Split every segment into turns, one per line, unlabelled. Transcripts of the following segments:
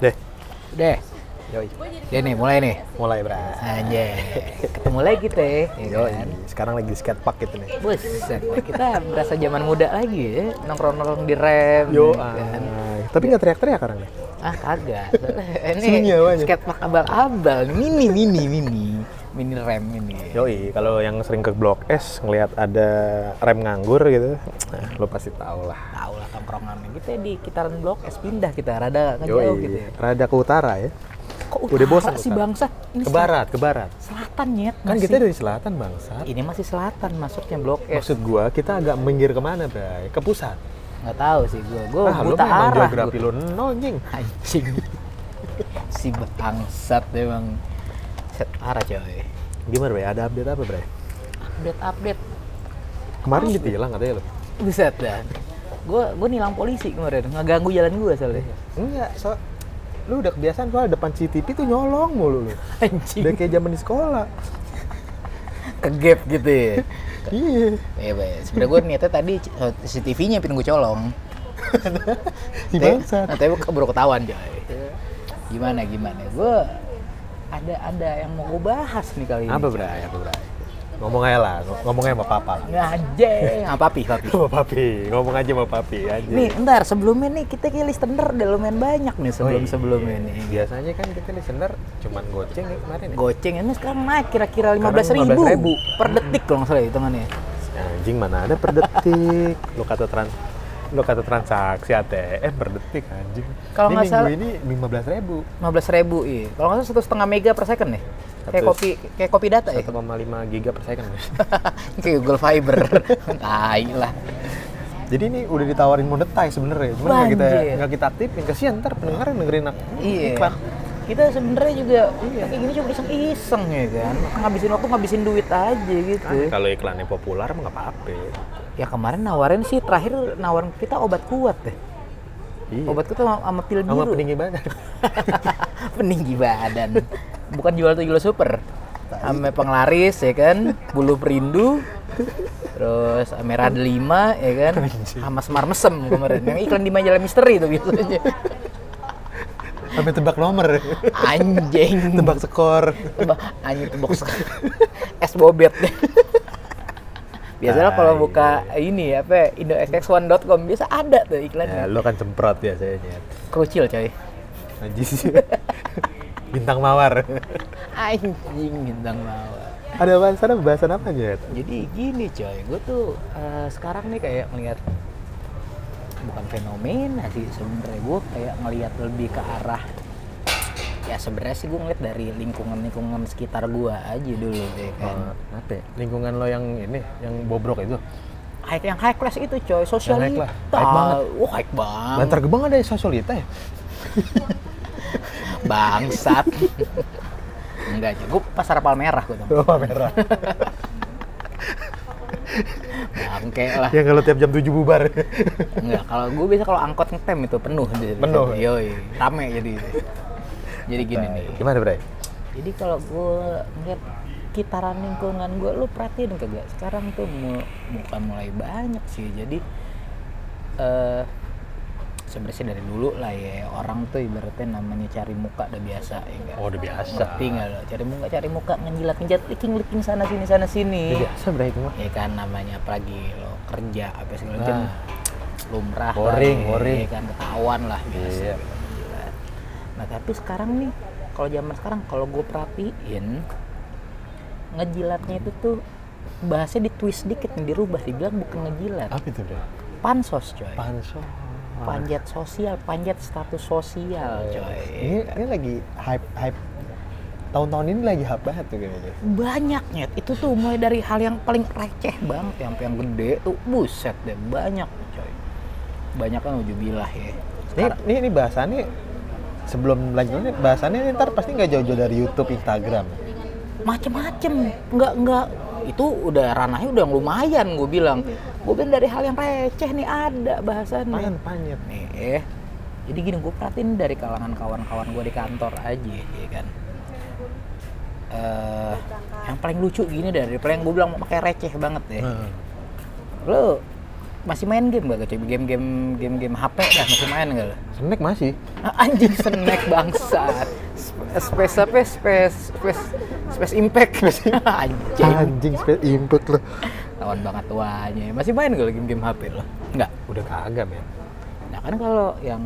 Deh,
Deh,
yoi.
deh nih mulai nih.
Mulai, Bra.
Anjay, ketemu lagi teh. ya
Yoi.
kan?
Sekarang lagi di skatepark gitu nih.
Buset, kita berasa zaman muda lagi ya. Nongkrong-nongkrong di rem.
Yo, ah.
kan?
tapi nggak teriak-teriak ya sekarang nih.
Ah kagak. Eh,
Sunyi
ini
awalnya.
skatepark abal-abal. Mini, mini, mini. Mini rem ini.
Yoi, kalau yang sering ke Blok S ngelihat ada rem nganggur gitu, nah, lo pasti tau lah.
Tahu lah tongkrongan kita di kitaran blok es pindah kita rada nggak jauh gitu
Yoi,
ya.
rada ke utara ya.
Kok
iya. Udah bosan
sih
utara.
bangsa? Ini
Ke barat, ke barat.
selatan nyet.
Kan
masih.
kita dari selatan, Bangsa.
ini masih selatan masuknya blok S.
Maksud gua, kita agak minggir kemana, Bray? Ke pusat.
Nggak tahu sih gua. Gua
Ah, lo
buta
memang
arah. gua.
geografi lo nol, nying.
anjing si bangsat emang set parah coy
Gimana, Bray? Ada update apa, Bray?
update update
Kemarin ditilang katanya lo.
buset dah gue gue nilang polisi kemarin ngeganggu jalan gue soalnya
Enggak, so lu udah kebiasaan soalnya depan CCTV tuh nyolong mulu lu. Udah
anjing
kayak zaman di sekolah.
kegep gitu ya
Iya.
Iya, Bay. sebenernya gue niatnya tadi oh, CCTV-nya pin gue colong.
Si bangsat.
Tapi gue baru ketahuan, coy. Gimana, gimana. Gue ada ada yang mau gue bahas nih kali ini.
Apa Bray? Apa Bray? Ngomong aja lah, ng- ngomong aja sama papa lah.
Ngajeng. Apa, Pi? Apa, Pi?
Sama papi, ngomong aja sama papi aja.
Nih, ntar sebelumnya nih kita kayak listener udah lumayan banyak nih sebelum-sebelumnya nih.
Biasanya kan kita listener cuman goceng ya kemarin ya.
Goceng ini sekarang naik kira-kira 15.000
Sekarang 15.000.
per detik kalau nggak salah ya hitungannya.
Anjing mana ada per detik. lu kata trans lu kata transaksi E ATM per detik eh, anjing.
Kalau
Ini
nggak salah-
minggu ini 15 ribu.
15.000 iya. Kalau nggak salah satu setengah mega per second nih. Kayak
Satu-
kopi kayak kopi data
Eh.
ya.
1,5 giga per second.
kayak Google Fiber. Tai lah.
Jadi ini udah ditawarin monetize sebenarnya, cuman nggak kita
Banjir.
nggak kita aktifin kasihan ntar pendengar yang dengerin ak-
Iya.
iklan.
Kita sebenarnya juga iya. kayak gini cuma iseng-iseng ya kan. Ngabisin waktu ngabisin duit aja gitu.
Nah, Kalau iklannya populer mah nggak apa-apa. Iya.
Ya kemarin nawarin sih terakhir nawarin kita obat kuat deh.
Iya.
Obat kuat sama, sama pil
Sama
biru.
peninggi banget.
peninggi badan bukan jual tuh jual super ame penglaris ya kan bulu perindu terus ame rad lima ya kan sama semar mesem kemarin yang iklan di majalah misteri itu biasanya
Sampai tebak nomor,
anjing
tebak skor.
Tebak- anjing tuh box es bobet biasanya kalau buka ini apa indoxx1.com biasa ada tuh
Ya,
iklannya
lo kan semprot biasanya.
krucil coy
Anjing. Bintang mawar.
anjing bintang mawar
Ada bahasan ada pembahasan apa aja?
Jadi gini coy, gue tuh eh, sekarang nih kayak ngelihat bukan fenomena sih sebenarnya gue kayak ngelihat lebih ke arah ya sebenarnya sih gue ngeliat dari lingkungan-lingkungan sekitar gue aja dulu ya kan.
apa? ya? Lingkungan lo yang ini, yang bobrok itu.
High, yang high class itu coy, sosialita.
class. High banget.
Wah, high banget.
Bantar Gebang ada sosialita ya?
Bangsat. Enggak, gue pasar palmerah gue tuh.
Bapak merah.
Bangke lah.
yang Ya, kalau tiap jam 7 bubar.
Enggak, kalau gue biasa kalau angkot ngetem itu penuh.
Penuh. ya?
Yoi, rame jadi. Jadi gini nih.
Gimana, Bray?
Jadi kalau gue ngeliat kitaran lingkungan gue, lu perhatiin kagak? Sekarang tuh mu- bukan mulai banyak sih. Jadi eh sebenarnya sih dari dulu lah ya orang tuh ibaratnya namanya cari muka udah biasa ya enggak?
Oh, udah biasa.
Ngerti nggak lo? Cari muka, cari muka, ngejilat, ngejilat, liking, liking sana sini, sana sini.
Udah biasa, Bray, itu mah.
Ya kan namanya apalagi lo kerja apa segala macam
Ah.
lumrah
Boring,
lah,
boring.
ya kan ketahuan lah biasa.
Iya.
Nah tapi sekarang nih kalau zaman sekarang kalau gue perhatiin ngejilatnya itu tuh bahasnya di twist dikit nih dirubah dibilang bukan ngejilat
Apa itu, Bray?
pansos coy
Pansos.
panjat sosial panjat status sosial coy
Ini, ini lagi hype hype tahun-tahun ini lagi hype banget tuh kayaknya.
banyaknya itu tuh mulai dari hal yang paling receh banget yang yang gede tuh buset deh banyak coy banyak kan ujubilah ya
Ini ini, ini bahasannya sebelum lanjut ini bahasannya ini ntar pasti nggak jauh-jauh dari YouTube, Instagram.
macem-macem nggak nggak itu udah ranahnya udah lumayan gue bilang gue bilang dari hal yang receh nih ada bahasannya
Panjat panjat.
nih eh. jadi gini gue perhatiin dari kalangan kawan-kawan gue di kantor aja ya kan eh
Eh,
yang paling lucu gini dari paling gue bilang pakai receh banget ya
Hmm.
lo masih main game gak coy? Game-game game-game HP dah masih main gak lo?
Snack masih.
Ah, Anjing snack bangsat. Sp- Space apa? Space Space Space Impact. Anjing.
Anjing, spe- impact lo.
Lawan banget tuanya. Masih main gak lo game-game HP lo? Enggak.
Udah kagak, men.
Nah kan kalau yang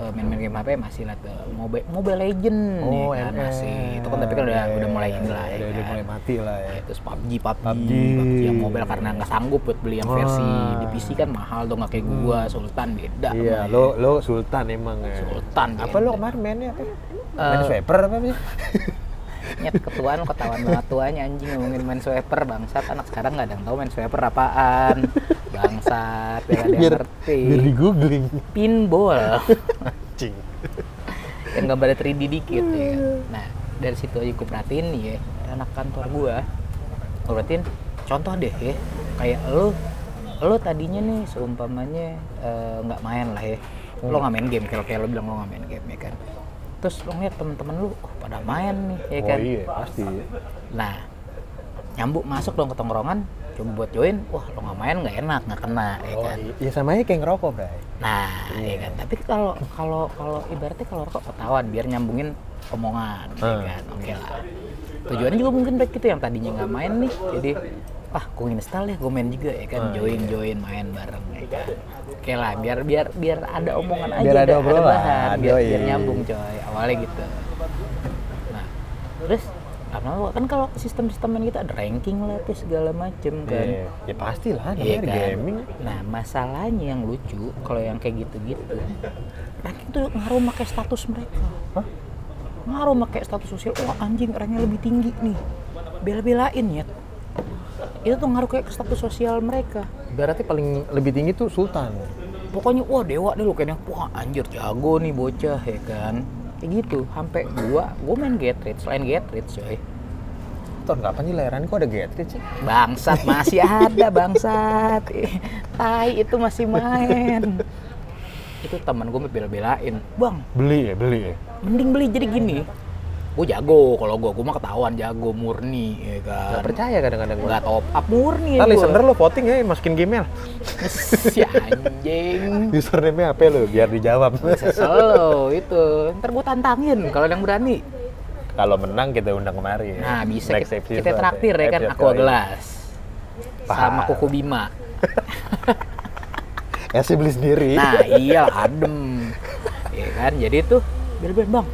eh, main-main game HP masih lah tuh Mobile Mobile Legend
Oh,
ya kan?
ML.
masih. Itu kan tapi kan udah
Iya,
udah mulai
iya,
ini lah ya
Udah, udah
kan?
mulai mati lah ya.
Ya, terus PUBG, PUBG,
PUBG.
yang mobile karena nggak sanggup buat beli yang versi di
Wah. Hmm.
PC kan mahal dong nggak kayak gua Sultan beda.
Iya,
sama
lo lo sultan emang ya.
Sultan.
Apa lo kemarin mainnya apa? Main
Eh,
swiper apa sih?
Nyet ketuaan lu ketahuan banget tuanya anjing ngomongin main swiper bangsat anak sekarang nggak ada yang tahu main swiper apaan bangsat biar ada yang
Biar
ngerti
biar di googling.
pinball
Cing.
yang gambarnya 3D dikit ya kan.
Hmm.
Nah, dari situ aja gue perhatiin nih ya, anak kantor gua. Gue perhatiin contoh deh ya, kayak lu lu tadinya nih seumpamanya eh, nggak main lah ya.
Hmm.
Lo nggak main game, kalau kayak lo bilang lo nggak main game ya kan. Terus lo ngeliat temen-temen lu, oh, pada main nih ya kan.
Oh iya, pasti.
Nah, nyambuk masuk dong ke tongkrongan, coba buat join, wah lo nggak main nggak enak, nggak kena ya
Oh
kan.
iya, ya sama aja kayak ngerokok, Bray.
Nah,
Iya.
ya kan. Tapi kalau kalau kalau ibaratnya kalau rokok ketahuan biar nyambungin omongan, ya
Hmm.
kan. Oke lah. Tujuannya juga mungkin baik gitu yang tadinya nggak main nih, jadi ah gue install ya, gue main juga ya
iya.
kan, join join main bareng ya kan. Oke lah, biar biar biar ada omongan aja,
Biar ada obrolan,
bahan, biar,
yoi.
biar nyambung coy. Awalnya gitu. Nah, terus lama-lama kan kalau sistem-sistem yang kita ada ranking lah tuh segala macem kan.
Iya, ya pasti lah, namanya
Iya
di
kan?
gaming.
Nah, masalahnya yang lucu kalau yang kayak gitu-gitu, ranking tuh ngaruh pakai status mereka.
Hah?
Ngaruh pakai status sosial. Wah, anjing ranknya lebih tinggi nih. Bela-belain ya. Itu tuh ngaruh kayak ke status sosial mereka.
Berarti paling lebih tinggi tuh sultan.
Pokoknya wah dewa deh lu kayaknya. Wah, anjir jago nih bocah ya kan. Kayak gitu, sampai gua gua main Gatorade, selain Gatorade coy.
Tahun kapan sih lahiran kok ada Gatorade sih?
Bangsat masih ada bangsat. Ih, Tai itu masih main. itu teman gue bela-belain. Bang,
Beli ya, beli ya.
mending beli jadi gini. Gue jago kalau gue, gue mah ketahuan jago murni ya
Gak
kan.
percaya kadang-kadang gue.
Nggak top up
Ntar
murni Iya, gua.
listener lo voting ya, masukin Gmail.
si anjing.
Username-nya apa lo, biar dijawab.
Kesel lo itu. Ntar gue tantangin kalau ada yang berani.
Kalau menang kita undang kemari. ya.
Nah, bisa
Next
kita,
episode
kita
ada.
traktir ya kan
Episode
aqua
kali.
gelas. Sama
Paham.
kuku bima.
Ya sih beli sendiri.
Nah iya adem ya kan jadi tuh biar biar bang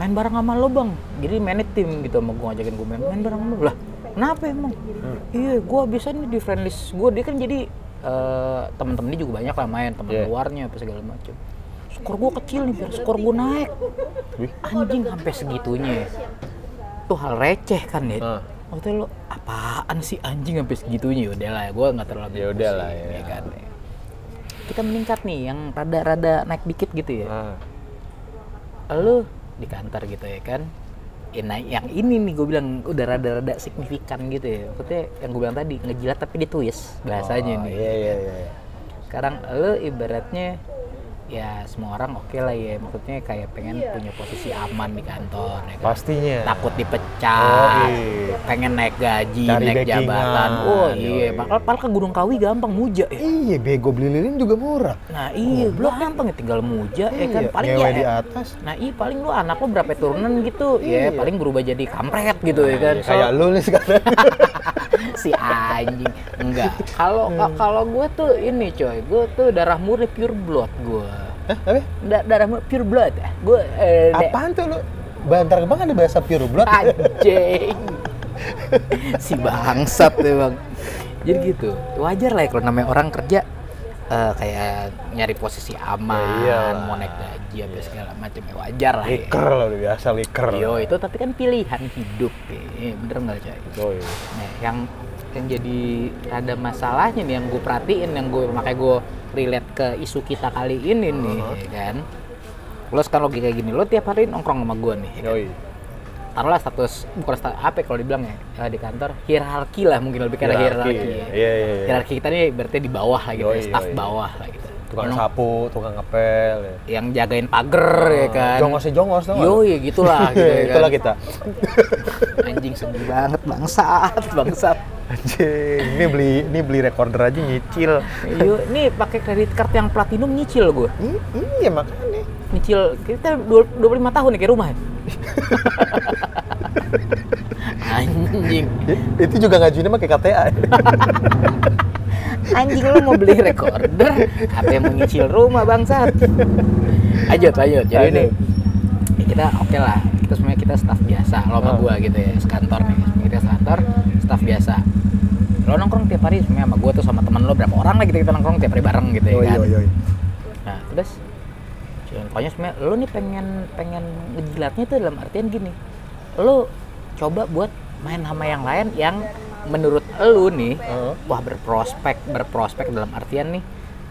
main bareng sama lo bang jadi mainnya tim gitu sama gue ngajakin gue main main bareng sama lo lah kenapa emang
Hmm.
iya gue biasa nih di friend list gue dia kan jadi eh, temen-temennya juga banyak lah main teman
Iya.
luarnya apa segala macam skor gue kecil nih biar skor gue naik
Wih.
anjing sampai segitunya ya. tuh hal receh kan ya
Ah.
waktu itu lo apaan sih anjing sampai segitunya udah lah gue nggak terlalu
Ya udahlah,
pusing,
ya.
kan kita meningkat nih yang rada-rada naik dikit gitu ya
Ah.
lu di kantor gitu ya kan ya, nah, yang ini nih gue bilang udah rada-rada signifikan gitu ya maksudnya yang gue bilang tadi ngejilat tapi ditulis bahasanya
Oh,
nih
Iya, iya, iya.
sekarang lu ibaratnya ya semua orang oke lah ya maksudnya kayak pengen punya posisi aman di kantor ya kan?
Pastinya. Oh,
takut dipecat,
iya.
pengen naik gaji,
Cari
naik
backingan.
jabatan. Oh iya,
Yoi.
bakal padahal ke Gunung Kawi gampang muja ya.
Iya, bego beli lilin juga murah.
Nah iya, belum gampang ya tinggal muja ya kan
Iya,
paling
ngewe
ya.
di atas.
Nah iya paling lu anak lu berapa turunan gitu ya paling berubah jadi kampret gitu ya kan.
Iya, kayak lu nih sekarang.
si anjing enggak. Kalau
Hmm.
kalau gue tuh ini coy, gue tuh darah murni pure blood gue.
Hah, apa?
Da- darah murni pure blood. Gue eh, de-
Apaan tuh lu? Bantar Gebang ada bahasa pure blood.
Ah, anjing si bangsat tuh bang jadi gitu wajar lah ya kalau namanya orang kerja eh, kayak nyari posisi
Ya
aman
iyalah. Eh,
mau naik gaji apa segala macam ya wajar lah ya.
Liker lo, biasa liker.
Yo itu tapi kan pilihan hidup ya. bener nggak coy
Oh, iya.
Nah, yang yang jadi ada masalahnya nih yang gue perhatiin yang gue makanya gue relate ke isu kita kali ini nih
Uh-huh.
ya kan lo sekarang logika gini lo tiap hari nongkrong sama gue nih ya kan?
Yoi.
taruhlah status bukan status apa ya kalau dibilang ya eh, di kantor hierarki lah mungkin lebih karena
Hierarki,
hierarki,
iya. Iya, iya, iya.
hierarki kita nih berarti di bawah lah gitu
Yoi,
ya, staff
yoi.
bawah lah gitu
Tukang
Yang-
sapu, tukang ngepel. Ya.
yang jagain pagar ya kan
Jongosnya jongos Ah, tau nggak Iya, lu?
yo ya gitulah gitu ya kan
Itulah kita.
anjing sedih banget bangsat bangsat
Anjing, ini beli ini beli recorder aja nyicil.
Iya, nih pakai kredit card yang platinum nyicil gue.
Hmm, iya makanya.
Nyicil kita dua- 25 tahun ya kayak rumah. ya. Anjing.
I- Ya, Itu juga ngajuinnya pakai KTA.
Iya, Anjing lu mau beli recorder, apa yang mau nyicil rumah bangsat. Lanjut, lanjut. Jadi ini
Lanjut.
ya kita oke lah. Kita semuanya kita staff biasa. Lo sama
Ah.
gua gitu ya, sekantor nih. Semuanya Kita sekantor, staff biasa. Lo nongkrong tiap hari semuanya sama gua tuh sama temen lo berapa orang lah gitu kita nongkrong tiap hari bareng gitu
Oh,
ya
iya,
kan. Nah, terus cuman pokoknya sebenarnya lo nih pengen pengen ngejilatnya tuh dalam artian gini. Lo coba buat main sama yang lain yang menurut lo nih
Heeh.
wah berprospek, berprospek dalam artian nih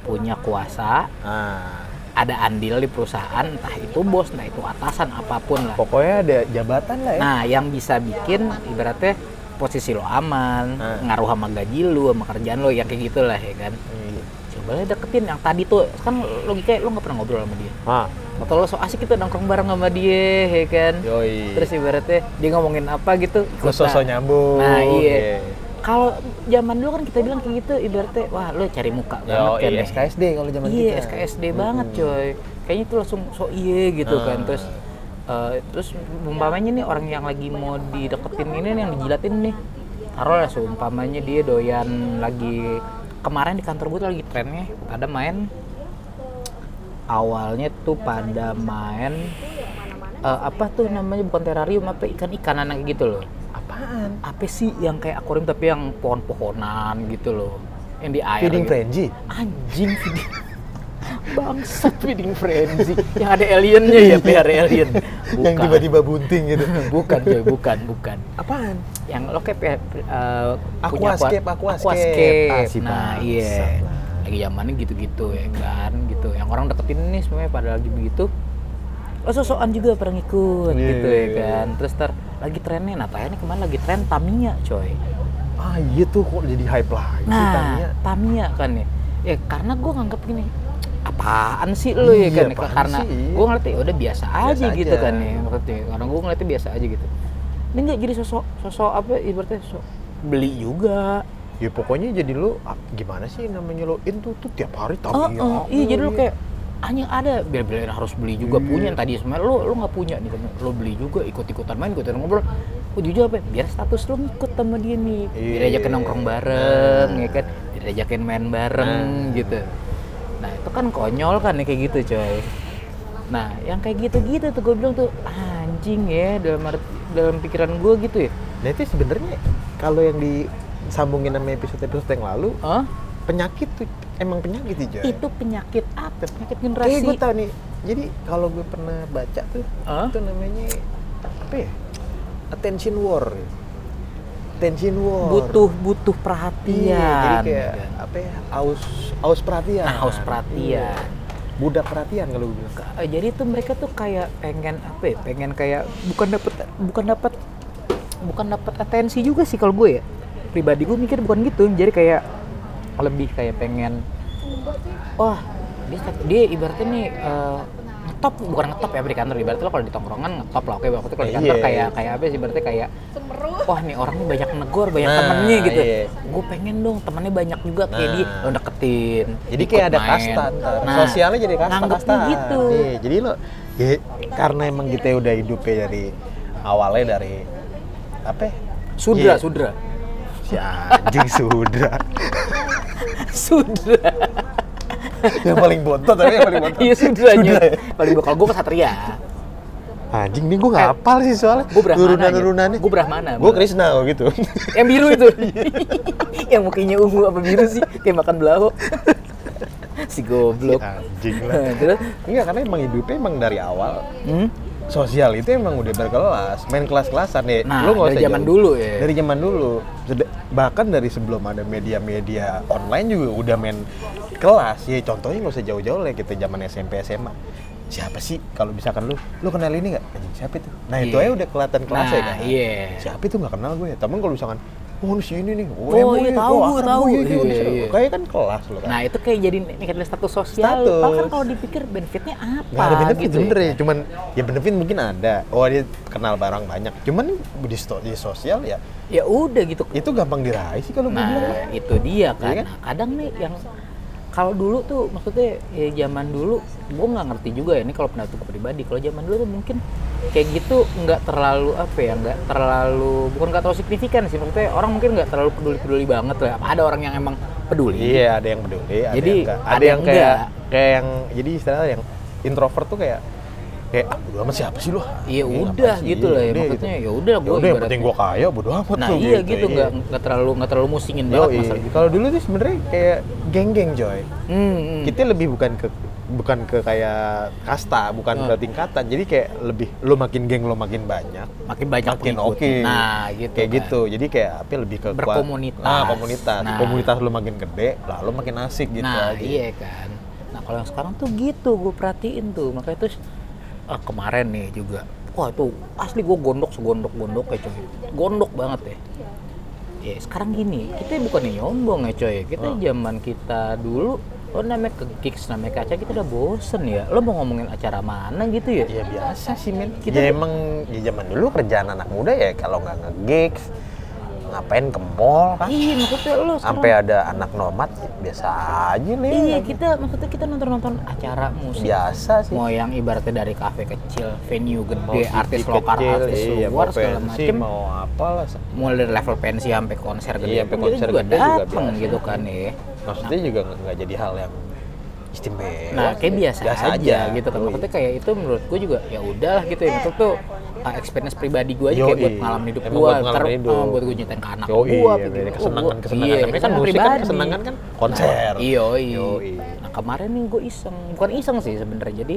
punya kuasa,
Ah,
ada andil di perusahaan, entah itu bos, entah itu atasan apapun lah.
pokoknya ada jabatan lah ya.
Nah, yang bisa bikin ibaratnya posisi lo aman,
Nah.
ngaruh sama gaji lo, sama kerjaan lo, yang kayak gitulah ya kan.
Iya.
Coba deketin yang tadi tuh, kan logikanya lo nggak pernah ngobrol sama dia
Ah,
atau lo so asik gitu nongkrong bareng sama dia ya kan
yoi.
terus ibaratnya dia ngomongin apa gitu ikut
Lu sosok
lah.
iya. nyambung.
Nah, iya. kalau zaman dulu kan kita bilang kayak gitu ibaratnya wah lo cari muka banget
Yo,
kan
iya.
ya.
SKSD kalau zaman
iya
kita.
SKSD
Mm-mm.
banget coy kayaknya itu langsung so iye gitu
Nah.
kan terus eh, terus umpamanya nih orang yang lagi mau dideketin ini nih, yang dijilatin nih taruh lah seumpamanya dia doyan lagi kemarin di kantor gue tuh lagi trennya ada main awalnya tuh pada main eh, apa tuh namanya bukan terarium apa ikan ikanan kayak gitu loh
Apaan?
apa sih yang kayak akuarium tapi yang pohon-pohonan gitu loh yang di air
Feeding
gitu
frenzy.
anjing feeding bangsat feeding frenzy yang ada aliennya ya biar alien bukan
Yang tiba-tiba bunting gitu.
bukan coy bukan bukan
Apaan?
yang lo kayak uh,
Aquascape,
aqua-
aquascape. Ah, si
nah
bangsat
iya
lah.
lagi zamannya gitu-gitu ya kan gitu yang orang deketin nih semuanya pada lagi begitu gitu. oh sosokan juga pada ngikut
Iya,
gitu
iya,
ya
iya.
kan terus ter lagi trennya nah tayangnya kemarin lagi tren Tamiya coy
Ah, iya tuh kok jadi hype lagi
Nah,
Tamiya.
Tamiya. kan ya. Ya karena gue nganggap gini, apaan sih lu ya
Iya,
kan?
apaan
Karena
sih?
gue ngeliatnya ya udah biasa, aja
aja.
gitu kan ya. Maksudnya, karena gue ngeliatnya biasa aja gitu. Ini nggak jadi sosok, sosok apa ibaratnya sosok beli juga.
Ya pokoknya jadi lu ah, gimana sih namanya lu itu tuh tiap hari ya
Oh,
Tamiya.
oh, iya jadi lu
mulu.
kayak anjing ada bela-belain harus beli juga
Iya.
punya yang tadi sebenarnya lu lu nggak punya nih kan lu beli juga ikut-ikutan main ikut ngobrol ujungnya apa ya? biar status lu ngikut sama dia nih
Iya.
biar ajakin nongkrong bareng ya
Nah.
kan biar ajakin main bareng gitu nah itu kan konyol kan ya kayak gitu coy nah yang kayak gitu-gitu tuh gue bilang tuh anjing ya dalam arti- dalam pikiran gue gitu ya
Nah itu sebenarnya kalau yang disambungin sama episode-episode yang lalu
Hah?
penyakit tuh emang penyakit sih Joy.
itu penyakit apa penyakit generasi
Kayaknya gue tau nih. Jadi kalau gue pernah baca tuh
Hah?
itu namanya apa ya? Attention war. Attention war.
butuh butuh perhatian
Iya, jadi kayak
kan.
apa ya? Aus aus perhatian.
Nah, haus perhatian.
Iya. Budak perhatian kalau gue bilang.
Eh, jadi tuh mereka tuh kayak pengen apa ya pengen kayak bukan dapat bukan dapat bukan dapat atensi juga sih kalau gue ya pribadi gue mikir bukan gitu jadi kayak lebih kayak pengen wah dia, dia ibaratnya nih eh, ngetop bukan ngetop ya di kantor ibaratnya lo kalau di tongkrongan ngetop lah oke waktu kalau di kantor
Iya.
kayak kayak apa sih ibaratnya kayak wah nih orang nih banyak negor banyak
Nah,
temennya gitu
iya.
gue pengen dong temennya banyak juga kayak
Nah.
dia lo deketin
Jadi
ikut
kayak ada
main.
kasta ntar.
Nah,
Sosialnya jadi kasta kasta. Iya,
nganggepnya gitu
jadi lo ya, karena emang kita udah hidupnya dari awalnya dari apa? ya?
Sudra,
Iya.
sudra.
Si anjing sudra.
Sudra.
yang paling bontot tapi yang paling bontot.
Iya, sudra.
Sudra ya?
Paling bakal gue kesatria.
Anjing nih gue gak hafal sih soalnya.
Gua Brahmana,
Turunan-turunannya.
gitu. Gua Brahmana,
Gue
Bro.
Krishna oh, gitu.
Yang biru itu.
Iya.
Yang mukanya ungu apa biru sih? Kayak makan belaho. si goblok.
anjing
Nah, Terus,
Enggak karena emang hidupnya emang dari awal
hmm?
sosial itu emang udah berkelas, main kelas-kelasan ya.
Nah,
nggak
dari
usah
zaman
jauh.
dulu ya.
Dari zaman dulu. Sed- Bahkan dari sebelum ada media-media online juga udah main kelas. Ya contohnya nggak usah jauh-jauh lah kita zaman SMP SMA. Siapa sih kalau misalkan lu lu kenal ini nggak? Anjing siapa itu? Nah, itu
Iya.
aja udah kelihatan kelasnya
Nah,
kan.
iya.
Siapa itu nggak kenal gue. Tapi ya? kalau misalkan oh ini si ini nih
Oh, iya, tahu
oh,
gua,
akrab
tahu.
gua, iya, iya,
Iya,
iya,
iya.
kayak kan kelas loh kan
Nah itu kayak jadi ningkatin status sosial.
Status.
Padahal kan kalau dipikir benefitnya apa?
Gak ada benefit
gitu
bener ya,
ya.
cuman ya benefit mungkin ada. Oh dia kenal barang banyak, cuman di, sto- di sosial ya
Ya udah gitu.
itu gampang diraih sih kalau gue bilang.
Nah itu dia kan.
Iya kan?
Nah, kadang nih yang kalau dulu tuh maksudnya ya zaman dulu gue nggak ngerti juga ya ini kalau pendapat gue pribadi kalau zaman dulu tuh mungkin kayak gitu nggak terlalu apa ya nggak terlalu bukan nggak terlalu signifikan sih maksudnya orang mungkin nggak terlalu peduli peduli banget lah ada orang yang emang peduli
Iya ada yang peduli, ada
Jadi,
yang enggak. Ada, yang
ada yang
kayak
enggak.
kayak yang jadi istilahnya yang introvert tuh kayak kayak ah bodo amat siapa sih lu?
Iya,
Iya,
udah
apaan sih?
gitu lah ya
Iya, udah
maksudnya ya udah
Ya
gue
udah yang penting gua kaya bodo amat
nah
lu
iya gitu
iya.
nggak nggak terlalu nggak terlalu musingin
Yo,
banget
iya.
masalah gitu
Kalau dulu tuh sebenarnya kayak geng-geng coy.
Hmm, hmm.
kita lebih bukan ke bukan ke kayak kasta bukan
Hmm.
ke tingkatan jadi kayak lebih lo makin geng lo makin banyak
makin banyak
makin
pengikut.
oke
Nah, gitu.
kayak
kan.
gitu jadi kayak apa lebih ke kuat-
Berkomunitas.
nah komunitas
Nah.
komunitas lo makin gede lah lo makin asik gitu
nah,
aja
iya kan. Nah, kalau yang sekarang tuh gitu gue perhatiin tuh. Makanya terus ah, kemarin nih juga. Wah, tuh asli gue gondok segondok-gondok ya coy. Gondok banget ya. Ya, sekarang gini, kita bukannya nyombong ya coy. Kita
Oh.
zaman kita dulu lo namanya ke gigs, namanya ke acara kita udah bosen ya. Lo mau ngomongin acara mana gitu ya?
ya biasa sih men ya
Kita tuh-
emang ya zaman dulu kerjaan anak muda ya kalau nggak nge gigs ngapain ke mall kan
Iya, maksudnya lo sekarang
sampai kan. ada anak nomad biasa aja nih
Iya kita maksudnya kita nonton-nonton acara musik.
biasa sih
Mau yang ibaratnya dari kafe kecil, venue
Mau
gede,
TV
artis lokal,
kecil,
artis
iya,
luar
mau
segala
pensi,
macem.
mau apalah
Mulai dari level pensi sampai konser gede,
Iya, sampai
pun
konser
kita juga
gede juga
dateng
biasa. Iya,
gitu kan ya.
maksudnya juga nggak- nggak jadi hal yang istimewa
Nah,
sih.
kayak biasa, aja, gitu
Iya.
kan. Maksudnya kayak itu menurut gue juga ya udahlah gitu ya. Maksud tuh ah, experience pribadi gue aja kayak
Yoi.
buat pengalaman hidup
Emang
gue,
buat pengalaman hidup.
buat gue nyatain ke anak gitu,
Yoi,
gue,
iya, dari kesenangan kesenangan Tapi kan musik kan kesenangan kan konser
Iya,
Yoi.
Nah, kemarin nih gue iseng, bukan iseng sih sebenarnya. Jadi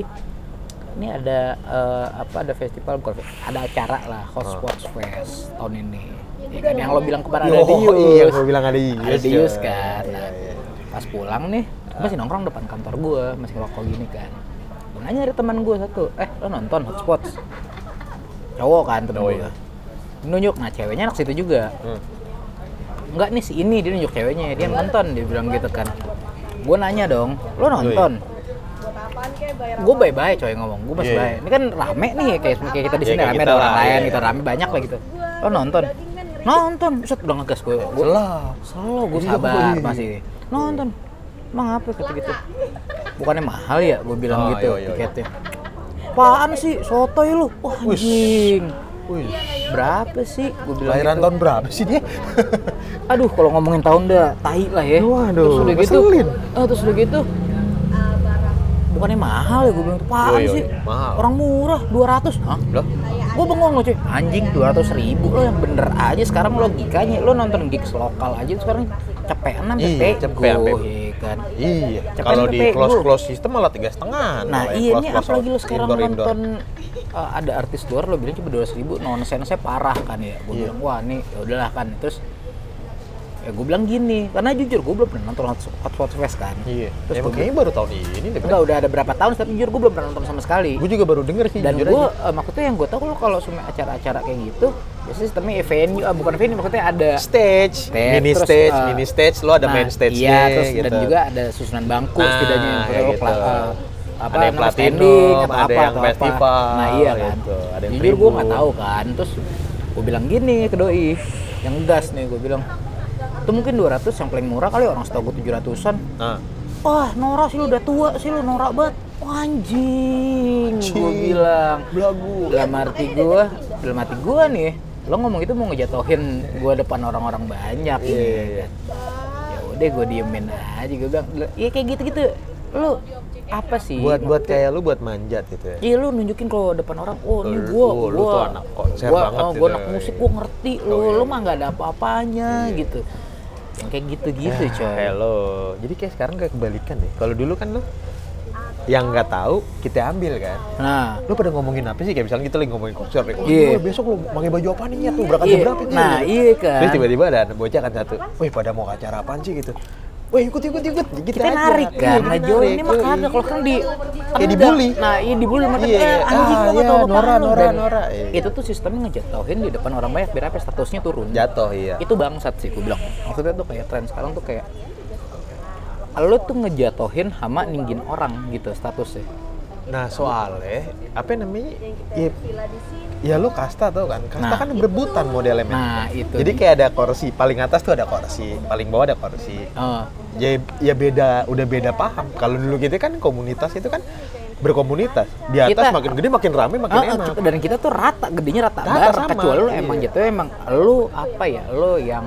ini ada eh, apa ada festival bukan fe- ada acara lah Hot Sports Fest tahun ini. Ya kan yang lo bilang kemarin ada
Yo,
Dius.
iya, gua bilang ada Dius,
Ada Dius
coy.
kan.
Iya,
Nah,
iya.
Pas pulang nih, gua masih nongkrong depan kantor gue, masih ngerokok gini kan. Gua nanya dari teman gue satu, eh lo nonton Hot Spots? Cowok kan temen
Oh,
gue.
iya.
Nunjuk, nah ceweknya anak situ juga
Hmm.
enggak nih si ini dia nunjuk ceweknya dia nonton dia bilang gitu kan gue nanya dong lo nonton gue bye bye coy ngomong gue masih
Iya,
bye ini kan rame nih kayak kayak kita di
Iya,
sini
kayak
rame
kita
ada orang
lah,
lain
iya.
gitu rame banyak lah gitu lo nonton nonton set udah ngegas gue gue
Selah.
selalu gue
Iya,
sabar
iya.
masih nonton emang apa kata gitu bukannya mahal ya gue bilang
Oh, iya,
gitu
iya, iya.
tiketnya apaan sih sotoy lu wah
Wih.
anjing
Wih,
berapa sih gue bilang
kelahiran
gitu.
tahun berapa sih dia?
aduh kalau ngomongin tahun dah tai lah ya
Waduh,
terus udah gitu
ngeselin.
eh, terus udah gitu bukannya mahal ya gue bilang tuh
Yo,
apaan
yo,
sih
mahal."
orang murah 200 Hah?
Loh,
gue bengong loh cuy anjing 200 ribu lo yang bener aja sekarang logikanya lo nonton gigs lokal aja sekarang cepean sampai
Iya,
pego,
cepean, pego.
iya kan
iya.
Cepetan
Kalau di
kepegu.
close close system malah tiga setengah.
nah
Malah yang
iya ini
close-close
apalagi lo sekarang
indoor-indoor.
nonton eh, ada artis luar lo bilang cuma 200 ribu nonsense parah kan ya gue
Iya.
bilang wah nih ya udahlah kan terus ya gue bilang gini karena jujur gue belum pernah nonton Hot- Hot Hot Fest kan
Iya.
terus
Emang gitu
gua-
kayaknya baru tahun ini deh.
enggak udah ada berapa tahun tapi jujur gue belum pernah nonton sama sekali
Gue juga baru denger sih.
dan
jujur
gue
aja.
maksudnya yang gue tahu lo kalau semua acara-acara kayak gitu biasanya sistemnya ya venue ah, bukan venue maksudnya ada
stage,
Stage,
mini
terus,
stage,
eh,
mini stage, lo ada
nah,
main stage gitu?
iya, terus dan juga ada susunan bangku
Nah,
setidaknya yang
kayak
perlu
gitu.
kela- eh, apa
Ada yang
namanya,
platinum,
standing, atau
ada
apa,
yang
atau apa.
festival,
nah iya kan
gitu. Ada yang
jujur gue
tribun.
nggak tahu kan terus gue bilang gini ke doi yang gas nih gue bilang itu mungkin 200 yang paling murah kali orang setahu gue 700-an
Nah,
wah Nora sih lu udah tua sih lu Nora banget Wah, anjing gue bilang
belagu.
dalam arti gue dalam arti gue nih lo ngomong itu mau ngejatohin gue depan orang-orang banyak
Iya,
nih.
iya, iya.
ya udah gue diemin aja gue bilang ya kayak gitu-gitu lu apa sih
Buat buat kayak lu buat manjat gitu ya.
Iya lu nunjukin kalau depan orang, oh ini
Lu-
gua,
lu- lu
gua,
tuh anak konser
gua,
banget
oh,
gitu.
gua anak musik, gua ngerti, lu,
Oh, iya.
lu mah nggak ada apa-apanya gitu, yang kayak gitu-gitu
Ya,
coy.
Ah, Hello. Jadi kayak sekarang kayak kebalikan deh. Kalau dulu kan lo yang nggak tahu kita ambil kan.
Nah,
Lo pada ngomongin apa sih? Kayak misalnya kita lagi ngomongin konser nih. Oh,
Iya.
gua besok lo pakai baju apa nih? Ya, tuh berangkat
iya,
jam berapa nih?
nah iya kan.
Terus tiba-tiba ada anak bocah kan satu. Wih, pada mau ke acara apaan sih gitu. Weh ikut ikut ikut. Gitu
kita
aja.
narik
Iya,
kan
kita
nah Joel
narik.
ini mah
Yoi.
kagak kalau kan di
Kayak
tendang.
Iya, dibully.
nah iya dibully sama
Iya,
temen
iya. Ah,
anjing lu gak
iya,
tau apa
Nora,
lu.
Nora,
Dan
Nora, iya.
itu tuh sistemnya ngejatuhin di depan orang banyak biar apa statusnya turun
Jatuh iya.
itu bangsat sih gue bilang maksudnya tuh kayak tren sekarang tuh kayak lu tuh ngejatuhin hama ninggin orang gitu statusnya
Nah soalnya apa namanya? Ya, ya lu kasta tau kan? Kasta
Nah.
kan berebutan modelnya men.
nah itu
Jadi kayak ada kursi, paling atas tuh ada kursi, paling bawah ada kursi.
Eh,
Ya, ya beda, udah beda paham. Kalau dulu gitu kan komunitas itu kan berkomunitas. Di atas
Kita-
makin gede makin rame makin
eh, eh,
enak.
dan kita tuh rata gedenya rata,
Rata
banget
sama,
kecuali lu
iya.
emang jatuhnya emang lu apa ya lu yang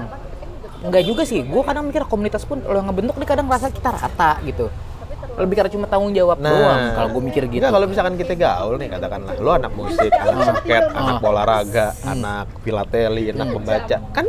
nggak juga sih gue kadang mikir komunitas pun lu yang ngebentuk nih kadang rasa kita rata gitu lebih karena cuma tanggung jawab doang kalau gue mikir
Nah.
gitu Hmm.
Enggak, kalau misalkan kita gaul nih katakanlah lu anak musik, anak basket, anak olahraga, anak filateli, anak
Hmm.
pembaca. Kan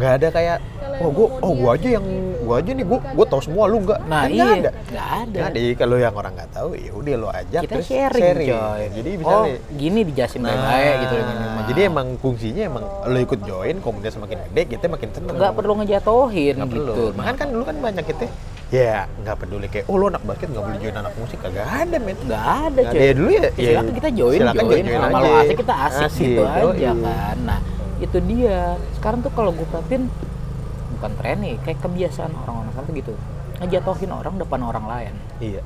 nggak ada kayak oh gua oh gua aja yang gua aja nih gua gua tahu semua lu enggak.
nah
kan
iya
nggak ada.
nggak ada
Jadi kalau yang orang nggak tahu ya udah lu ajak
kita
terus
sharing, coy
Jadi bisa Nah,
oh gini dijelasin baik-baik gitu
Jadi emang fungsinya emang lu ikut join komunitas makin gede kita makin seneng.
nggak perlu ngejatohin
Nggak perlu.
gitu
Makan kan dulu kan banyak kita ya nggak peduli kayak oh lu anak basket nggak boleh join anak musik kagak ada men.
nggak ada
Nah,
cuy
ya dulu ya,
Ya, silakan kita join
silakan
join, sama lo asik kita asik, gitu
yoi.
aja kan nah itu dia sekarang tuh kalau gue perhatiin bukan tren nih kayak kebiasaan orang-orang sekarang tuh gitu ngejatohin orang depan orang lain
Iya.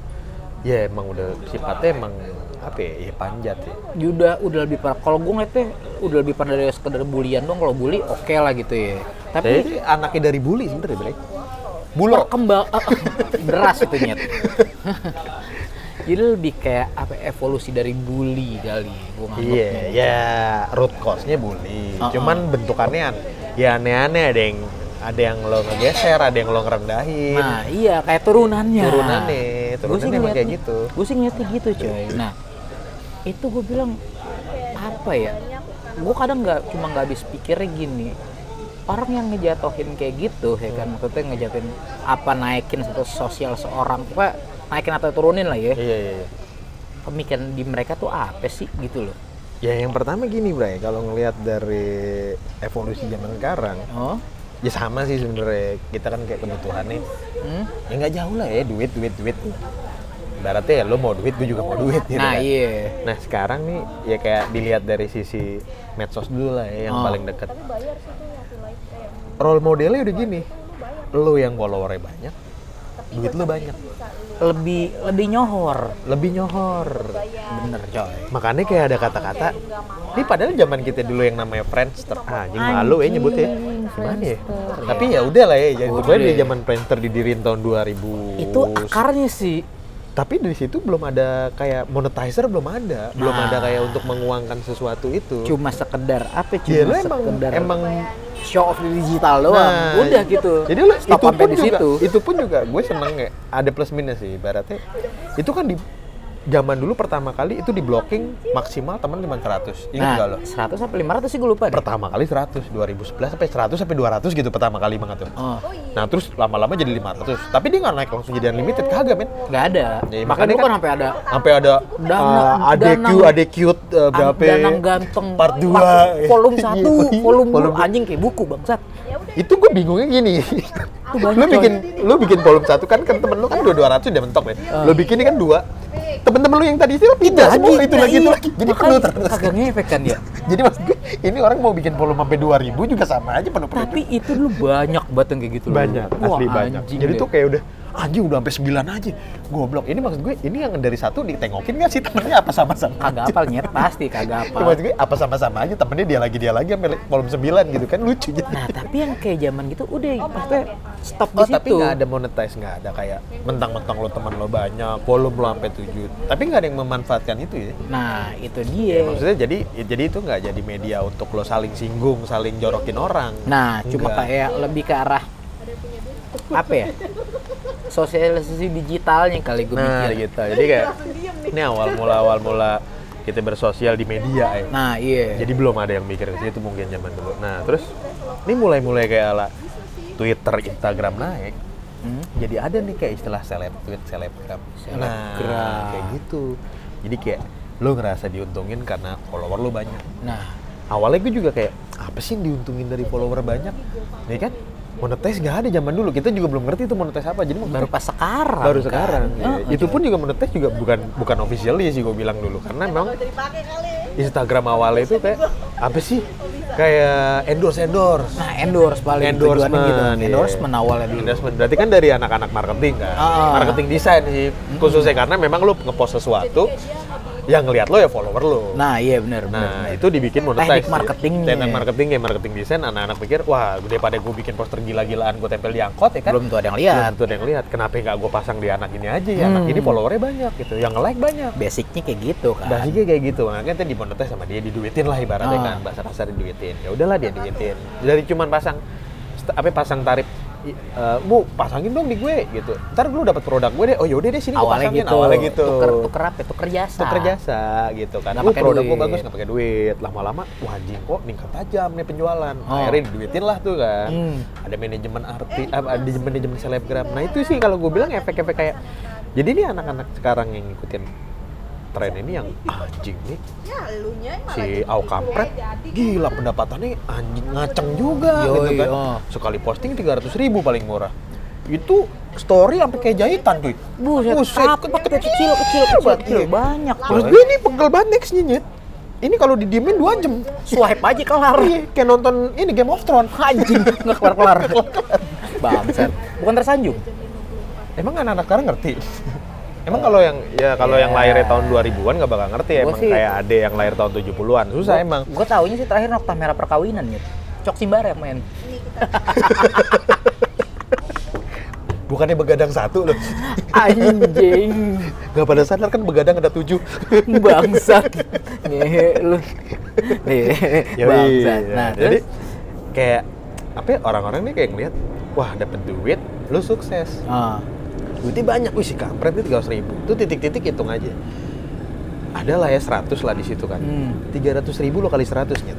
Ya emang udah sifatnya emang apa ya, ya panjat ya.
Iya, udah udah lebih parah kalau gue ngeliatnya udah lebih parah dari sekedar bulian dong kalau bully oke lah gitu ya
Tapi
tapi
itu anaknya dari bully sebenarnya, Bre. Bulok.
perkembang eh, beras itu nyet jadi lebih kayak apa ya, evolusi dari bully kali gue nganggapnya
Iya, ya root cause-nya bully.
Uh-uh.
Cuman bentukannya an- ya aneh-aneh ada yang ada yang lo ngegeser, ada yang lo ngerendahin.
Nah iya kayak turunannya.
Turunannya, turunannya emang kayak gitu. iya.
Gue sih ngeliatnya gitu coy. Nah itu gue bilang apa ya? Gue kadang nggak cuma nggak habis pikirnya gini. Orang yang ngejatohin kayak gitu ya
Hmm.
kan maksudnya ngejatohin apa naikin status sosial seorang apa naikin atau turunin lah ya
Iya, iya, iya.
pemikiran di mereka tuh apa sih gitu loh
Ya yang pertama gini, Bre, kalau ngelihat dari evolusi zaman sekarang,
oh
ya sama sih sebenarnya. Kita kan kayak kebutuhannya
hmm?
ya nggak jauh lah ya duit duit duit ibaratnya ya lo mau duit gue juga mau duit gitu
nah
kan.
iya
nah sekarang nih ya kayak dilihat dari sisi medsos dulu lah ya yang
Oh.
paling dekat role modelnya udah gini lo yang followernya banyak duit lo banyak
lebih lebih nyohor
lebih nyohor
bener coy
makanya kayak ada kata-kata ini padahal zaman kita dulu yang namanya Friendster ah, anjing malu ya nyebutnya gimana ya tapi ya udah lah ya jadi pokoknya di zaman Friendster didiriin tahun 2000
Iya. itu akarnya sih
tapi dari situ belum ada kayak monetizer belum ada belum ada kayak untuk menguangkan sesuatu itu
Nah. cuma sekedar apa cuma
ya lu emang
sekedar
emang
show off di digital doang
Nah,
udah gitu
jadi lu
Stop
itu
sampai
pun
di
juga
situ
itu pun juga gue seneng ya ada plus minus sih ibaratnya itu kan di zaman dulu pertama kali itu di blocking maksimal teman 500 ingat
nah
gak lo
100 sampai 500 sih gue lupa deh
pertama kali 100 2011 sampai 100 sampai 200 gitu pertama kali banget tuh
oh
nah terus lama-lama jadi 500 tapi dia nggak naik langsung jadi unlimited kagak men
nggak ada
Ya,
makanya
makanya
dulu kan
kan-
sampai ada
sampai ada
Danang-
uh, ADQ
Danang-
ADQ uh, berapa
Danang ganteng
part 2
volume 1 volume,
Volume-
anjing kayak buku bangsat
itu gue bingungnya gini lu bikin lu bikin volume 1 kan kan temen lu kan dua 200 udah mentok
Iya.
ya lu bikin ini kan dua temen-temen lu yang tadi itu pindah semua itu lagi itu lagi jadi penuh terus
iya. kagak ngefek kan ya
jadi maksud gue ini orang mau bikin volume sampai 2000 juga sama aja penuh penuh
tapi itu lu banyak banget yang kayak gitu loh.
banyak
Wah,
asli banyak
anjing
jadi
deh.
tuh kayak udah anjing udah sampai 9 aja goblok ini maksud gue ini yang dari satu ditengokin nggak sih temennya apa sama-sama
kagak apal nyet pasti kagak apal
Cuma gue apa sama-sama aja temennya dia lagi dia lagi ambil volume 9 gitu kan lucu gitu.
nah tapi yang kayak zaman gitu udah maksudnya stop di
Oh,
situ
tapi nggak ada monetize nggak ada kayak mentang-mentang lo teman lo banyak volume lo sampai 7 tapi nggak ada yang memanfaatkan itu ya.
nah itu dia
Maksudnya jadi ya jadi itu nggak jadi media untuk lo saling singgung saling jorokin orang.
Nah, cuma
Nggak.
kayak lebih ke arah apa ya? Sosialisasi digitalnya kali gue
nah
mikir.
gitu jadi kayak ini awal mula awal mula kita bersosial di media ya.
Nah, iya.
Jadi belum ada yang mikir ke situ mungkin zaman dulu. Nah terus ini mulai-mulai kayak ala Twitter, Instagram naik,
Hmm.
jadi ada nih kayak istilah seleb tweet selebgram
Selebgram.
nah, kayak gitu jadi kayak lo ngerasa diuntungin karena follower lo banyak
Nah,
awalnya gue juga kayak apa sih yang diuntungin dari follower banyak ya kan monetes nggak ada zaman dulu kita juga belum ngerti itu monetes apa jadi
baru pas sekarang
baru
kan.
sekarang ya.
Heeh,
itu pun juga monetes juga bukan bukan officially sih gue bilang dulu karena memang
dipakai kali
Instagram awalnya itu kayak apa sih kayak endorse endorse
nah endorse paling
endorsement
tujuannya gitu.
iya.
endorsement awalnya dulu
endorsement berarti kan dari anak-anak marketing kan
Ah.
marketing desain sih khususnya karena memang lu ngepost sesuatu yang ngelihat lo ya follower lo nah,
nah iya benar benar benar.
itu dibikin monetize
Teknik
sih.
marketingnya.
teknik marketing ya marketing desain anak-anak pikir wah daripada gue bikin poster gila-gilaan gue tempel di angkot ya kan
belum tuh ada yang lihat Hmm.
Belum tentu ada yang lihat kenapa nggak gue pasang di anak ini aja ya anak ini followernya banyak gitu yang nge-like banyak
basicnya kayak gitu kan
basicnya kayak gitu makanya tadi dimonetize sama dia diduitin lah ibaratnya
Ah.
kan bahasa kasar diduitin ya udahlah dia duitin dari cuman pasang st- apa pasang tarif i- eh, bu pasangin dong di gue gitu ntar lu dapat produk gue deh oh yaudah deh sini gue
awalnya
pasangin
gitu
awalnya gitu
tuker tuker apa ya? tuker jasa
tuker jasa gitu kan
Nggak
oh
pakai
produk gue
duit.
bagus nggak pakai duit lama-lama wah anjing kok meningkat tajam nih penjualan
Oh.
akhirnya diduitin lah tuh kan
Hmm.
ada manajemen arti apa, ada manajemen selebgram nah itu sih kalau gue bilang efek-efek kayak jadi ini anak-anak sekarang yang ngikutin tren ini yang anjing nih
ya elunya yang malah
si
jadi
Au Kampret gila pendapatannya anjing ngaceng juga
Yoi,
gitu kan
oh.
sekali posting 300 ribu paling murah itu story sampai kayak jahitan cuy
buset
Buset,
tapi pakai kecil kecil kecil kecil banyak
terus gue ini pegel banget nextnya nyet ini kalau didiemin 2 jam
swipe aja kelar
Iya, kayak nonton ini Game of Thrones
anjing nggak kelar kelar bangsat bukan tersanjung
emang anak-anak sekarang ngerti Emang kalau yang ya kalau yang
Ya.
lahirnya tahun 2000-an gak bakal ngerti
Gua
emang
sih-
kayak ade yang lahir tahun 70-an. Susah emang.
gue taunya sih terakhir nokta merah perkawinan gitu cok simbar yang main
ini kita
Bukannya begadang satu loh.
anjing
Gak pada sadar kan begadang ada tujuh.
bangsat nih lu nih
Yoi.
bangsat nah
jadi
terus
kayak apa ya, orang-orang nih kayak ngeliat, wah dapat duit, lu sukses.
ah
Duitnya banyak, wih si kampret itu 300 ribu. Itu titik-titik hitung aja. Ada lah ya 100 lah di situ kan.
Hmm.
300 ribu lo kali 100 nyet.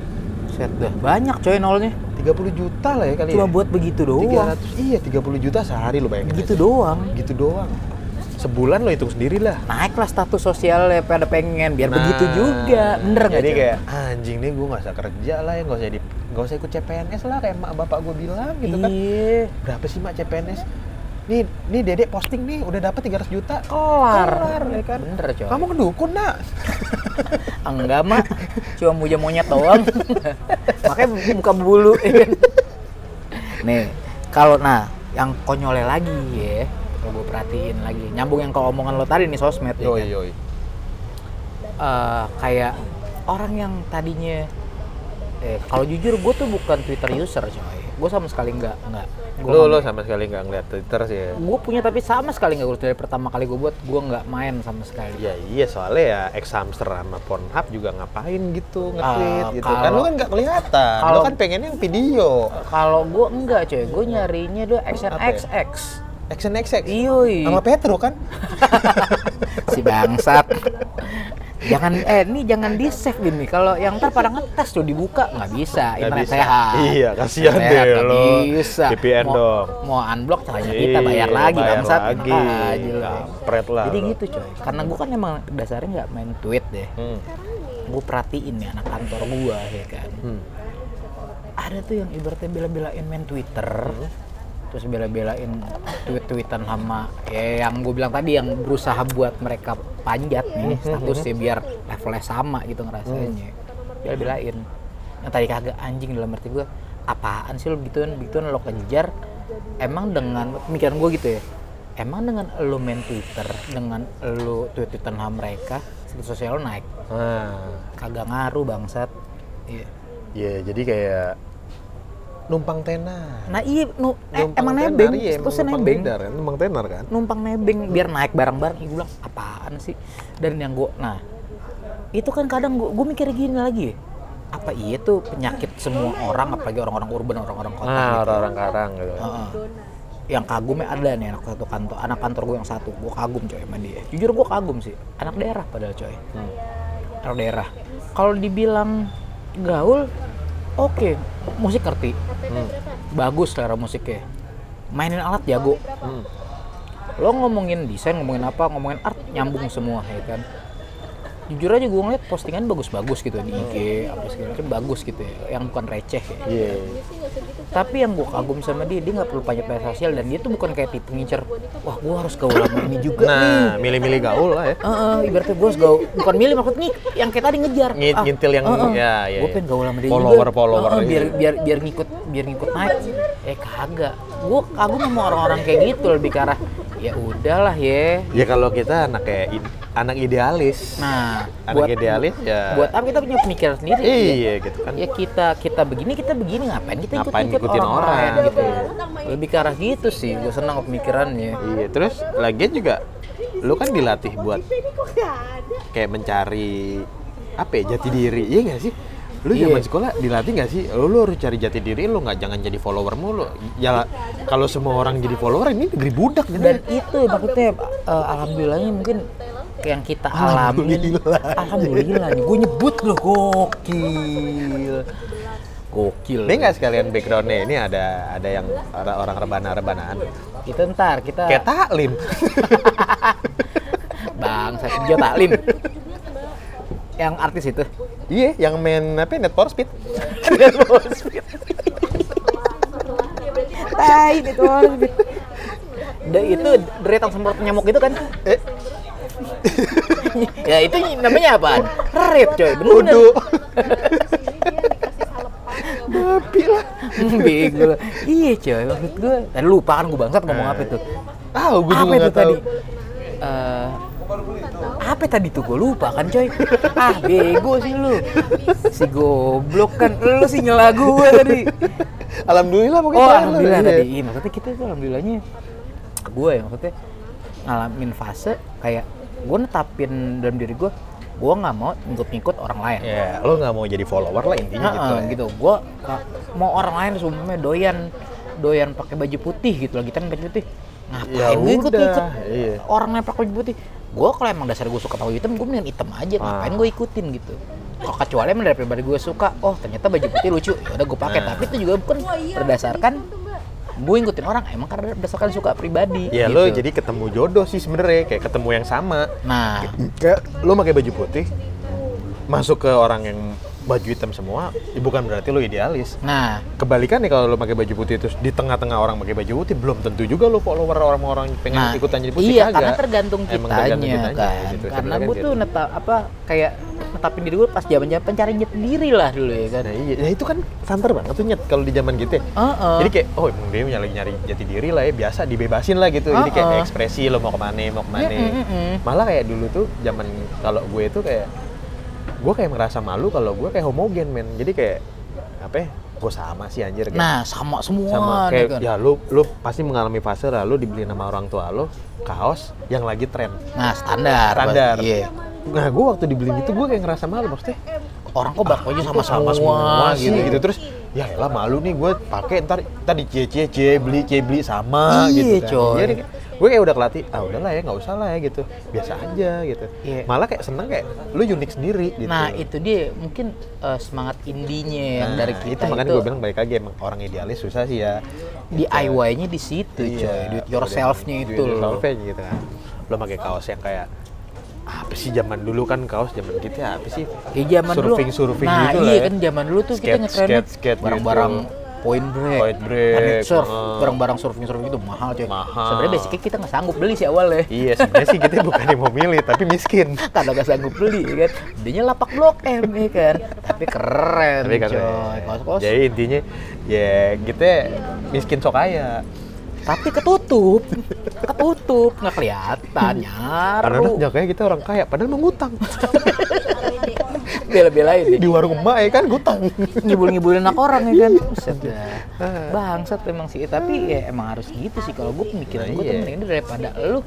set dah banyak coy nolnya
30 juta lah ya kali
cuma
ya.
buat begitu
300,
doang
iya 30 juta sehari lo bayangin
begitu
aja.
doang
Gitu doang. Sebulan lo hitung sendiri lah.
naiklah status sosialnya pada pengen biar
Nah,
begitu juga bener nggak
jadi
Cok?
kayak anjing nih gue gak usah kerja lah ya gak usah di gak usah ikut CPNS lah kayak mak bapak gue bilang gitu kan
iya
berapa sih mak CPNS nih nih dedek posting nih udah dapat 300 juta
kelar
Kelar, ya kan?
bener coy
kamu kedukun nak
enggak mak cuma puja monyet doang makanya muka bulu ya kan? nih kalau nah yang konyolnya lagi ya kalau gue perhatiin lagi nyambung yang ke omongan lo tadi nih sosmed ya kan?
yoi
Eh, kayak orang yang tadinya eh kalau jujur gue tuh bukan twitter user coy gue sama sekali nggak nggak Gua
lo
nggak-
lo sama sekali nggak ngeliat Twitter sih ya
gue punya tapi sama sekali nggak urus dari pertama kali gue buat gue nggak main sama sekali
Ya iya soalnya ya ex hamster sama Pornhub juga ngapain gitu nge-tweet
Ah,
gitu kan lo
kalau-
kan nggak kelihatan lo
kalau-
kan pengen yang video
kalau gue enggak coy gue nyarinya dulu XNXX
action XX
Iyoi.
ya? sama Petro kan
si bangsat jangan eh ini jangan di save ini kalau yang ntar pada ngetes tuh dibuka nggak
Nggak
bisa internet
bisa.
sehat
Iya, kasihan
Internet
deh
nggak
lo.
bisa
VPN
mau,
dong.
mau unblock caranya kita bayar
Iya,
lagi
bayar
bangsat
lagi.
Enak aja lo.
Kampret lah
jadi
lo.
gitu coy karena gue kan emang dasarnya nggak main tweet deh
Hmm.
gue perhatiin ya anak kantor gue ya kan
Hmm.
ada tuh yang ibaratnya bela-belain main Twitter terus bela-belain tweet-tweetan sama ya yang gue bilang tadi yang berusaha buat mereka panjat nih statusnya biar levelnya sama gitu ngerasainnya bela-belain yang tadi kagak anjing dalam arti gue apaan sih lo begituan begituan lo kejar emang dengan pemikiran gue gitu ya emang dengan lo main Twitter dengan lo tweet-tweetan sama mereka status sosial lo naik
Ah.
kagak ngaruh bangsat iya
Iya, jadi kayak numpang tenar.
Nah iya, nu, eh,
Numpang
emang
tenar,
nebeng,
iya, emang
terusnya
numpang
nebeng.
tenar kan, numpang tenar kan.
Numpang nebeng, biar naik bareng-bareng. Gue bilang, apaan sih? Dan yang gue, nah itu kan kadang gue, gue mikir gini lagi ya. Apa iya tuh penyakit semua orang, apalagi orang-orang urban, orang-orang kota
Ah,
gitu.
orang-orang karang gitu.
Heeh. yang kagumnya ada nih anak satu kantor anak kantor gue yang satu gue kagum coy sama dia jujur gue kagum sih anak daerah padahal coy anak daerah kalau dibilang gaul oke musik ngerti bagus selera musiknya mainin alat jago
Hmm.
lo ngomongin desain ngomongin apa ngomongin art nyambung semua ya kan jujur aja gue ngeliat postingan bagus-bagus gitu di IG apa segala macam bagus gitu ya yang bukan receh ya.
Iya.
tapi yang gue kagum sama dia dia nggak perlu banyak media sosial dan dia tuh bukan kayak tipe ngincer wah gue harus gaul sama ini juga nih
Nah, milih-milih gaul lah ya.
Eh, eh, ibaratnya gue harus gaul bukan milih maksud nih yang kayak tadi ngejar
Ngi- ngintil yang- ya, ya,
gue
ya.
ah, pengen gaul sama dia
Follower-
juga.
follower
Eh, eh, biar
gitu.
biar biar ngikut biar ngikut naik eh kagak gue kagum sama orang-orang kayak gitu lebih ke arah ya udahlah ya
Ya kalau kita anak kayak id- anak idealis.
nah
anak
buat
idealis ya.
buat apa kita punya pemikiran sendiri
Iya gitu kan.
ya kita kita begini kita begini ngapain kita ikut
Ngapain
ikut
ngikutin
orang,
orang,
lain gitu
gitu.
lebih ke arah gitu sih gue senang pemikirannya
Iya, terus lagian juga lu kan dilatih buat kayak mencari apa ya jati diri, iya nggak sih? Lu
Iya.
zaman sekolah dilatih nggak sih? Lu, lu harus cari jati diri, lu nggak jangan jadi follower mulu. Ya kalau semua orang jadi follower ini negeri budak gitu.
dan itu maksudnya eh, alhamdulillahnya mungkin yang kita alami
Alhamdulillah.
alhamdulillah nih gue nyebut loh gokil gokil
Ini nggak sekalian backgroundnya ini ada ada yang ada orang rebana-rebanaan.
itu ntar kita
Kayak taklim.
bang saya Jo taklim yang artis itu
Iya, yang main apa net for speed.
tai itu itu deretan semprot nyamuk itu kan
Eh,
ya itu namanya apaan? Rep coy, bener.
kudu.
Hmm, Bego lu. Iya coy, maksud gue. Tadi lupa kan gue bangsat ngomong apa itu.
Tahu gue
Apa
Eh, juga
itu
nggak tahu.
tadi? Eh, apa tadi tuh gue lupa kan coy ah bego sih lu si goblok kan lu sih nyela gue tadi
Alhamdulillah pokoknya.
oh
salah.
alhamdulillah
Iya.
tadi iya, maksudnya kita tuh alhamdulillahnya gue ya maksudnya ngalamin fase kayak gue netapin dalam diri gue gue nggak mau ngikut-ngikut orang lain
Ya, lo nggak mau jadi follower lah intinya gitu.
Heeh, gitu. Gua ka- mau orang lain semuanya doyan doyan pakai baju putih gitu lagi kan baju putih.
Ya
Ngapain gue ikut ikut
udah, iya.
orang yang pakai baju putih? Gua kalau emang dasar gue suka pakai hitam, gue mendingan hitam aja. Ngapain
Ah.
gue ikutin gitu? Kalau kecuali emang daripada gue suka, oh ternyata baju putih lucu, ya udah gue pakai.
Nah.
Tapi itu juga bukan berdasarkan gue ngikutin orang, emang karena berdasarkan suka pribadi.
Ya
gitu.
lo jadi ketemu jodoh sih sebenarnya kayak ketemu yang sama.
nah
Kayak lo pakai baju putih masuk ke orang yang baju hitam semua, ya bukan berarti lo idealis.
nah
Kebalikannya kalau lo pakai baju putih terus di tengah-tengah orang pakai baju putih belum tentu juga lo follower orang-orang yang pengen ikutan jadi putih
iya
kagak.
karena tergantung
Emang
kitanya,
tergantung kitanya,
kan
gitu.
karena
Sebenarnya
gue
gitu.
tuh neta apa kayak netapin diri gue pas zaman zaman pencari jati diri lah dulu ya kan
Nah, iya. Ya, itu kan santer banget tuh nyet kalau di zaman gitu ya.
Heeh.
Jadi kayak oh emang dia lagi nyari jati diri lah ya biasa dibebasin lah gitu. Jadi kayak
Heeh.
ekspresi lo mau kemana mau kemana.
Mm, mm, mm, mm.
Malah kayak dulu tuh zaman kalau gue tuh kayak gue kayak merasa malu kalau gue kayak homogen men. Jadi kayak apa ya? Gue sama sih anjir kayak.
nah sama semua
sama
nih
kayak
kan.
ya lu lu pasti mengalami fase lah lu dibeliin sama orang tua lu kaos yang lagi tren
nah standar
standar.
Iya.
Nah, gue waktu dibeliin itu gue kayak ngerasa malu maksudnya.
orang kok bakunya sama
sama
sama
semua
sih.
gitu gitu terus ya elah malu nih gue pakai ntar tadi cie cie cie beli cie beli sama
Iya,
gitu kan.
coy.
Jadi gue kayak udah kelatih ah udahlah ya nggak usah lah ya gitu biasa aja gitu
Iya.
malah kayak seneng kayak lu unik sendiri gitu
nah itu dia mungkin eh, semangat indinya yang
Nah,
dari kita
itu makanya gue bilang balik lagi emang orang idealis susah sih ya
DIY-nya di situ
Iya,
coy do it yourself-nya itu loh
yourself gitu kan lo pakai kaos yang kayak apa sih zaman dulu kan kaos zaman kita apa sih
Ya zaman dulu.
surfing surfing
nah,
gitu lah
iya
ya.
kan zaman dulu tuh kita
Skate,
ngetren
skate, skate
barang-barang
gitu.
point break,
Point break,
planet surf,
heeh.
barang-barang surfing surfing itu mahal coy.
Mahal.
Sebenarnya basicnya kita nggak sanggup beli sih awalnya.
iya sebenarnya sih kita bukan yang mau milih tapi miskin
Karena nggak sanggup beli ya kan. Belinya lapak blok M ya kan. Tapi keren
tapi kan
coy. Kos-kos.
jadi intinya ya kita miskin sok kaya
Tapi ketutup. ketutup nggak kelihatan
karena
nyaru.
kaya kita orang kaya padahal mengutang
Bela-belain ya.
di warung emak ya kan ngutang
ngibul-ngibulin anak orang ya kan Buset
Iya.
dah. bangsat emang sih tapi ya emang harus gitu sih kalau gue pemikiran
Nah,
gue tuh
iya.
mending daripada lu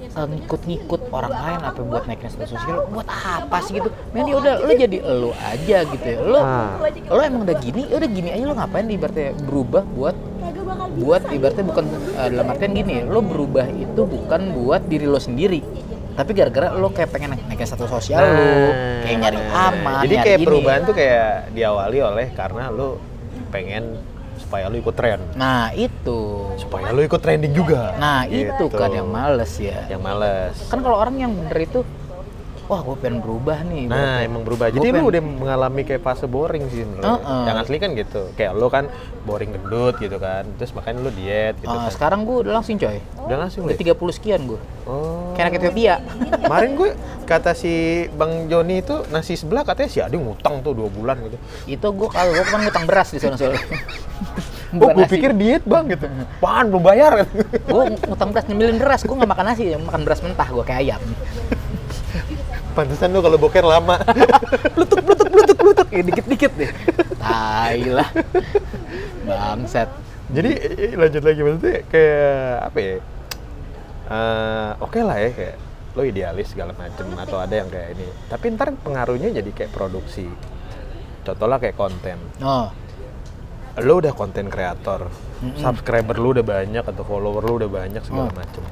eh, ngikut-ngikut orang lain apa buat naikin status sosial buat apa sih gitu men ya udah lu jadi lu aja gitu ya lu
Ah.
lu emang udah gini ya udah gini aja lu ngapain ibaratnya berubah buat buat ibaratnya bukan eh, dalam artian gini lu berubah itu bukan buat diri lo sendiri tapi gara-gara lo kayak pengen naik- naikin status sosial Ya lu kayak nyari aman
Nah. jadi
nyari
kayak
ini.
perubahan tuh kayak diawali oleh karena lu pengen supaya lu ikut tren
nah itu
supaya lu ikut trending juga
Nah
Gitu.
itu kan yang males ya.
yang males
Kan kalau orang yang bener itu wah gue pengen berubah nih
Nah, emang berubah. Jadi
Iya.
lu
Gua pengen-
udah mengalami kayak fase boring sih menurut gua.
Heeh.
Yang asli kan gitu. Kayak lu kan boring gendut gitu kan. Terus makanya lu diet gitu kan.
Ah, sekarang gue udah langsing coy
Udah langsung
udah
lu. ya?
30 sekian gue
Oh.
kayak anak Ethiopia
Kemarin gue kata si Bang Joni itu nasi sebelah katanya si Adi ngutang tuh dua bulan gitu.
itu gue kalau gue kan ngutang beras di sana soalnya
Oh, gue pikir diet bang gitu. Pan belum bayar.
gue ngutang beras nyemilin beras gue nggak makan nasi makan beras mentah gue kayak ayam
Pantesan lu kalau boker lama.
blutuk blutuk blutuk blutuk ya dikit dikit deh tai lah bangset
Jadi eh, lanjut lagi maksudnya kayak apa ya? Eh, Oke lah ya kayak lo idealis segala macem atau ada yang kayak ini. Tapi ntar pengaruhnya jadi kayak produksi. Contohnya kayak konten.
oh
Lo udah konten kreator, subscriber lo udah banyak atau follower lo udah banyak segala
Hmm.
macem.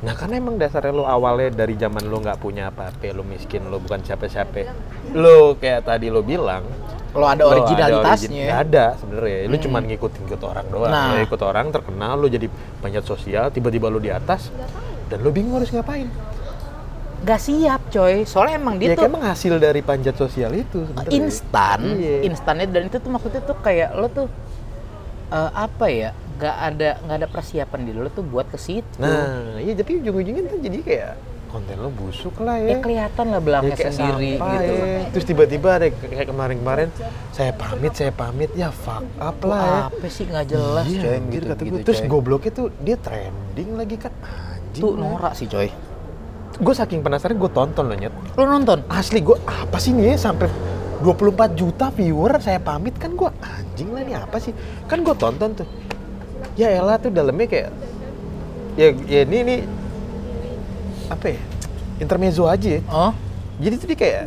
Nah karena emang dasarnya lo awalnya dari zaman lo nggak punya apa-apa, lo miskin, lo bukan siapa-siapa. Lo kayak tadi lo bilang,
kalau ada
Lo
originalitasnya Hmm.
origi- Oh, nggak ada sebenarnya lu cuma ngikutin ikut orang doang
Nah.
lu ikut orang terkenal lu jadi panjat sosial tiba-tiba lu di atas dan lu bingung harus ngapain
nggak siap coy soalnya emang dia
ya
tuh
emang hasil dari panjat sosial itu sebenarnya
instan
ya? Iya.
instannya dan itu tuh maksudnya tuh kayak lo tuh eh, apa ya nggak ada nggak ada persiapan di lo tuh buat ke situ
nah iya jadi ujung-ujungnya tuh jadi kayak konten lu busuk lah
ya
ya,
kelihatan lah
Ya,
belakangnya
kayak
sendiri
sampah
gitu
ya. terus tiba-tiba ada kayak kemarin-kemarin saya pamit saya pamit ya fuck up lah ya
apa sih nggak jelas
Iya,
coy
anjir,
gitu,
kata
gitu,
gua. terus
coy.
gobloknya tuh dia trending lagi kan anjing
tuh norak sih coy
gue saking penasaran gue tonton loh nyet
lo nonton
asli gue apa sih nih ya sampai 24 juta viewer saya pamit kan gue anjing lah ini apa sih kan gue tonton tuh ya elah tuh dalamnya kayak ya, ya ini ini apa ya intermezzo aja ya
oh
jadi tuh dia kayak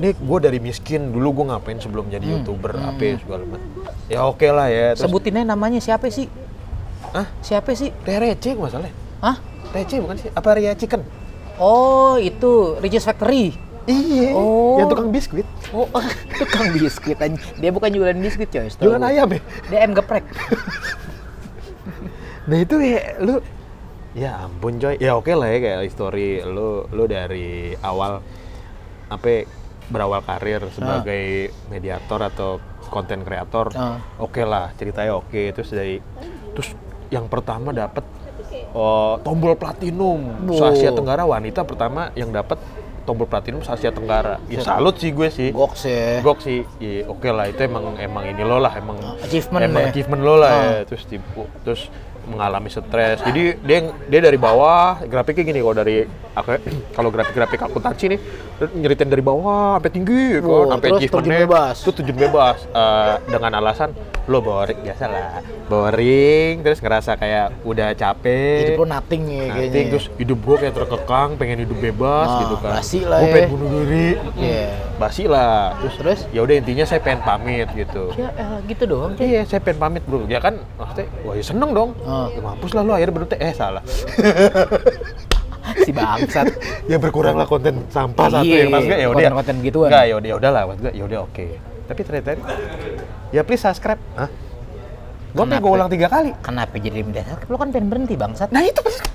ini gue dari miskin dulu gue ngapain sebelum jadi youtuber apa ya, segala macam ya oke lah ya terus
sebutinnya namanya siapa sih
Hah?
siapa sih
teh receh gua ya? masalahnya
Hah?
receh bukan sih apa kan? ria chicken
Oh, itu Riches Factory.
iya
Oh.
yang tukang biskuit
Oh, tukang biskuit aja. Dia bukan jualan biskuit, coy. setahu
jualan
gua.
ayam ya
Dia ayam geprek.
Nah itu ya lu ya ampun coy. Ya oke lah ya kayak history lu lu dari awal apa ya, berawal karir sebagai mediator atau konten kreator.
Ah.
Oke lah ceritanya oke terus dari terus yang pertama dapat oh, tombol platinum
Wow.
se Asia Tenggara wanita pertama yang dapat tombol platinum se Asia Tenggara. Ya salut sih gue sih.
Goks ya.
Gok sih, iya, oke lah itu emang emang ini lo lah emang
Achievement
emang
ya.
achievement lo lah ya. terus tipu terus mengalami stres jadi dia dia dari bawah grafiknya gini kalau dari aku- kalau grafik-grafik akuntansi nih nyeritain dari bawah sampai tinggi kan,
Wow,
sampai
terus
achievementnya,
terjun bebas.
terus terjun bebas Eh, dengan alasan lo boring biasa lah boring terus ngerasa kayak udah capek
Hidup lo nothing ya
Nanti
kayaknya.
terus hidup gue kayak terkekang, pengen hidup bebas
Nah,
gitu kan.
basi lah
Gue
ya.
pengen bunuh diri.
Iya.
Basi lah. Terus,
Terus?
ya udah intinya saya pengen pamit gitu.
Ya, elah, gitu doang, coy.
Iya, saya pengen pamit bro. Ya kan, maksudnya, wah ya seneng dong.
Ah.
Ya mampus lah lu akhirnya berarti eh salah.
Si bangsat.
ya berkurang lah konten sampah satu yang
Iya,
pas ya udah.
konten-konten gituan.
Enggak, ya udah ya udahlah, maksud gue ya udah oke. Tapi ternyata ya please subscribe. Hah? Gua pengen
Kenapa?
gue ulang tiga kali.
Kenapa jadi media? Lo kan pengen berhenti, bangsat.
Nah itu maksud-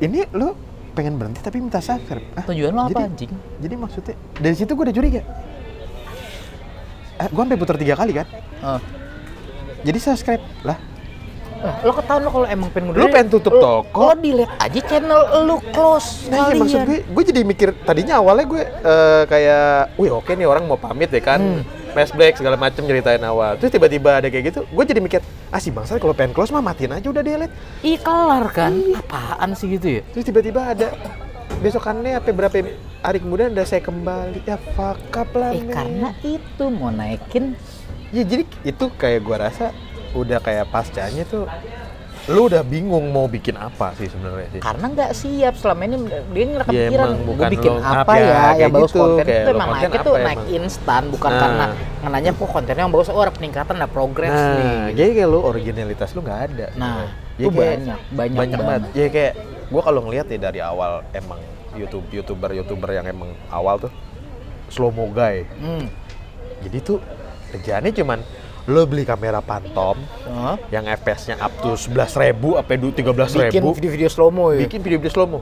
ini lu pengen berhenti tapi minta subscribe. Hah?
Tujuan lo apa,
Jadi-
anjing?
Jadi maksudnya dari situ gue udah curiga. Eh, gue sampai putar tiga kali kan.
Oh.
Jadi subscribe lah.
Eh, Lo ketahuan lo kalau emang pengen
Lu
ngundang-
pengen tutup
lo-
toko?
Lo delete aja channel lo
Nah,
close
iya,
sekalian.
maksud gue, gue jadi mikir tadinya awalnya gue eh, kayak, wih oke nih orang mau pamit deh kan,
Hmm.
flashback segala macem ceritain awal. Terus tiba-tiba ada kayak gitu, gue jadi mikir, ah si bangsa kalau pengen close mah matiin aja udah delete.
Ih, kelar kan?
Iya.
Apaan sih gitu ya?
Terus tiba-tiba ada besokannya apa berapa hari kemudian ada saya kembali ya fuck up lah
Eh,
men.
karena itu mau naikin
Ya jadi itu kayak gua rasa udah kayak pascanya tuh lu udah bingung mau bikin apa sih sebenarnya sih.
karena nggak siap selama ini dia
Iya,
nggak kepikiran
emang
"Gua
bukan
bikin
lo-
apa
apa ya,
ya yang
kayak
bagus
gitu,
konten
kayak
itu
lo
emang
konten
naiknya tuh
apa
naik
emang?
instan bukan
Nah.
karena ngenanya kok kontennya yang bagus oh ada peningkatan ada progres nih
Nah,
gitu.
jadi kayak lu originalitas lu nggak ada.
Nah,
Ya
itu
kayak-
banyak, banyak
banget.
banget.
Ya kayak gua kalau ngelihat ya dari awal emang YouTube YouTuber YouTuber yang emang awal tuh slow mo guy.
Hmm.
Jadi tuh kerjaannya cuman lu beli kamera pantom
Hah?
yang FPS-nya up to 11.000 apa 13.000
bikin video-video slow mo ya
bikin video-video slow mo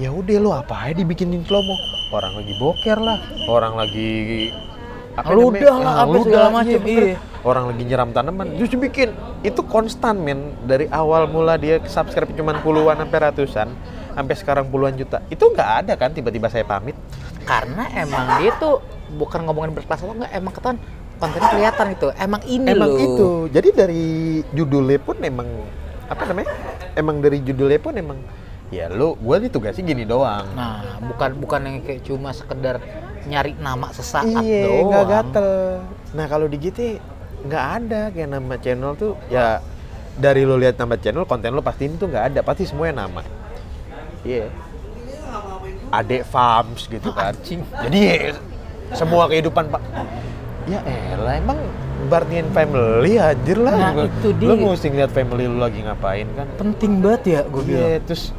ya udah lo apa aja dibikinin slow mo orang lagi boker lah orang lagi apa
Ngeludah
namanya?
lah,
Ah,
apa
ngeludah,
segala macem,
bener.
iya.
orang lagi nyeram tanaman justru bikin itu konstan men dari awal mula dia subscribe cuman puluhan sampai ratusan sampai sekarang puluhan juta itu nggak ada kan tiba-tiba saya pamit
karena emang dia tuh bukan ngomongin berkelas atau enggak emang ketahuan kontennya kelihatan gitu emang ini
emang
loh
itu jadi dari judulnya pun emang apa namanya emang dari judulnya pun emang ya lu gue ditugasin gini doang
nah bukan bukan yang kayak cuma sekedar nyari nama sesaat
iya
doang
nggak gatel nah kalau di GT nggak ada kayak nama channel tuh ya dari lu lihat nama channel konten lu pasti itu nggak ada pasti semuanya nama iya adek farms gitu kan
Anjing.
jadi ya, semua kehidupan pak ya elah emang Barney and Family hadir lah
Nah,
Gua-
itu dia.
lu mesti ngeliat family lu lagi ngapain kan
penting banget ya gue bilang
Iya, terus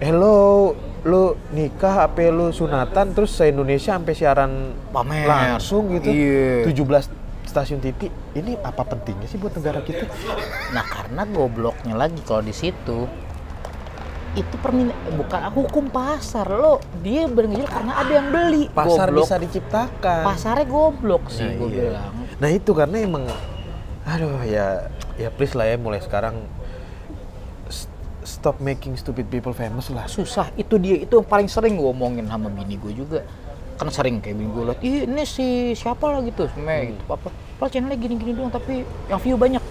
hello lu nikah apa lu sunatan terus se Indonesia sampai siaran
Pamer.
langsung gitu.
Iya.
17 stasiun TV. Ini apa pentingnya sih buat negara kita?
nah karena gobloknya lagi kalau di situ itu permin bukan hukum pasar lo dia berjual karena ada yang beli
Pasar
goblok.
bisa diciptakan.
pasarnya goblok sih
Nah,
gue
iya.
bilang
Nah, itu karena emang aduh ya ya please lah ya mulai sekarang s- stop making stupid people famous lah.
susah itu dia itu yang paling sering gue omongin sama bini gue juga kan sering kayak bini gue liat "Ih, ini si siapa lah gitu semua
Hmm.
gitu apa apa channelnya gini-gini doang tapi yang view banyak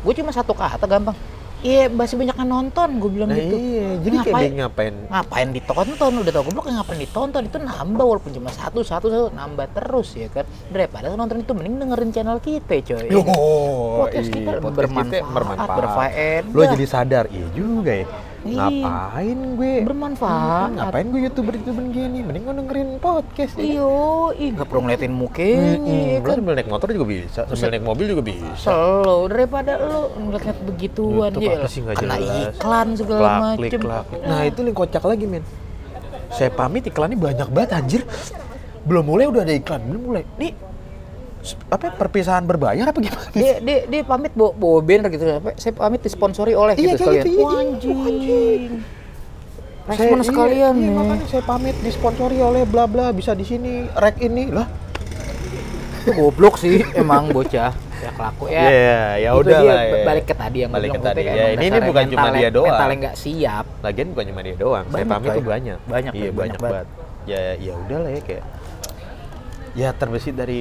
gue cuma satu kata gampang iya masih banyak yang nonton gue bilang
Nah,
gitu
iya, jadi kayak dia ngapain
ngapain ditonton udah tau goblok ngapain ditonton itu nambah walaupun cuma satu satu satu nambah terus ya kan daripada nonton itu mending dengerin channel kita coy
Yo,
podcast
iya,
kita bermanfaat, berfaedah.
Lo jadi sadar, iya juga ya.
Iya.
Ngapain gue?
Bermanfaat.
Hmm, Ngapain gue youtuber youtuber gini? Mending gue dengerin podcast. ya.
iyo ih nggak perlu ngeliatin mukanya ya
Mm-mm. Lo
Iya, kan
sambil naik motor juga bisa, sambil naik mobil juga bisa.
Selalu daripada lu ngeliat-ngeliat begituan ya
YouTube apa sih nggak
kena
jelas.
iklan segala
Klak, klik,
macem
klak. Nah itu yang kocak lagi men. Saya pamit iklannya banyak banget anjir. Belum mulai udah ada iklan, belum mulai. Nih s- apa perpisahan berbayar apa gimana?
dia, dia, dia pamit bawa, bawa banner gitu Apa, saya pamit disponsori oleh
Iya,
gitu
kayak
sekalian
gitu, iya,
Wah,
iya.
anjing.
Wah, anjing.
respon
Saya-
sekalian
iya, iya,
nih.
makanya saya pamit disponsori oleh bla bla bisa di sini rek ini lah
Itu goblok sih emang bocah ya kelaku ya
Iya, ya
Itu
udah
dia,
lah, ya.
balik ke tadi yang
Balik
gua
ke
bilang,
tadi,
gua
ya.
bilang
Ini- ini
dasarnya
bukan cuma
mentalnya-
dia doang.
mentalnya nggak siap
lagian bukan cuma dia doang saya
Banyak,
pamit
coy.
tuh banyak
Banyak,
iya
coy,
banyak,
banyak
banget ya ya udahlah ya kayak ya terbesit dari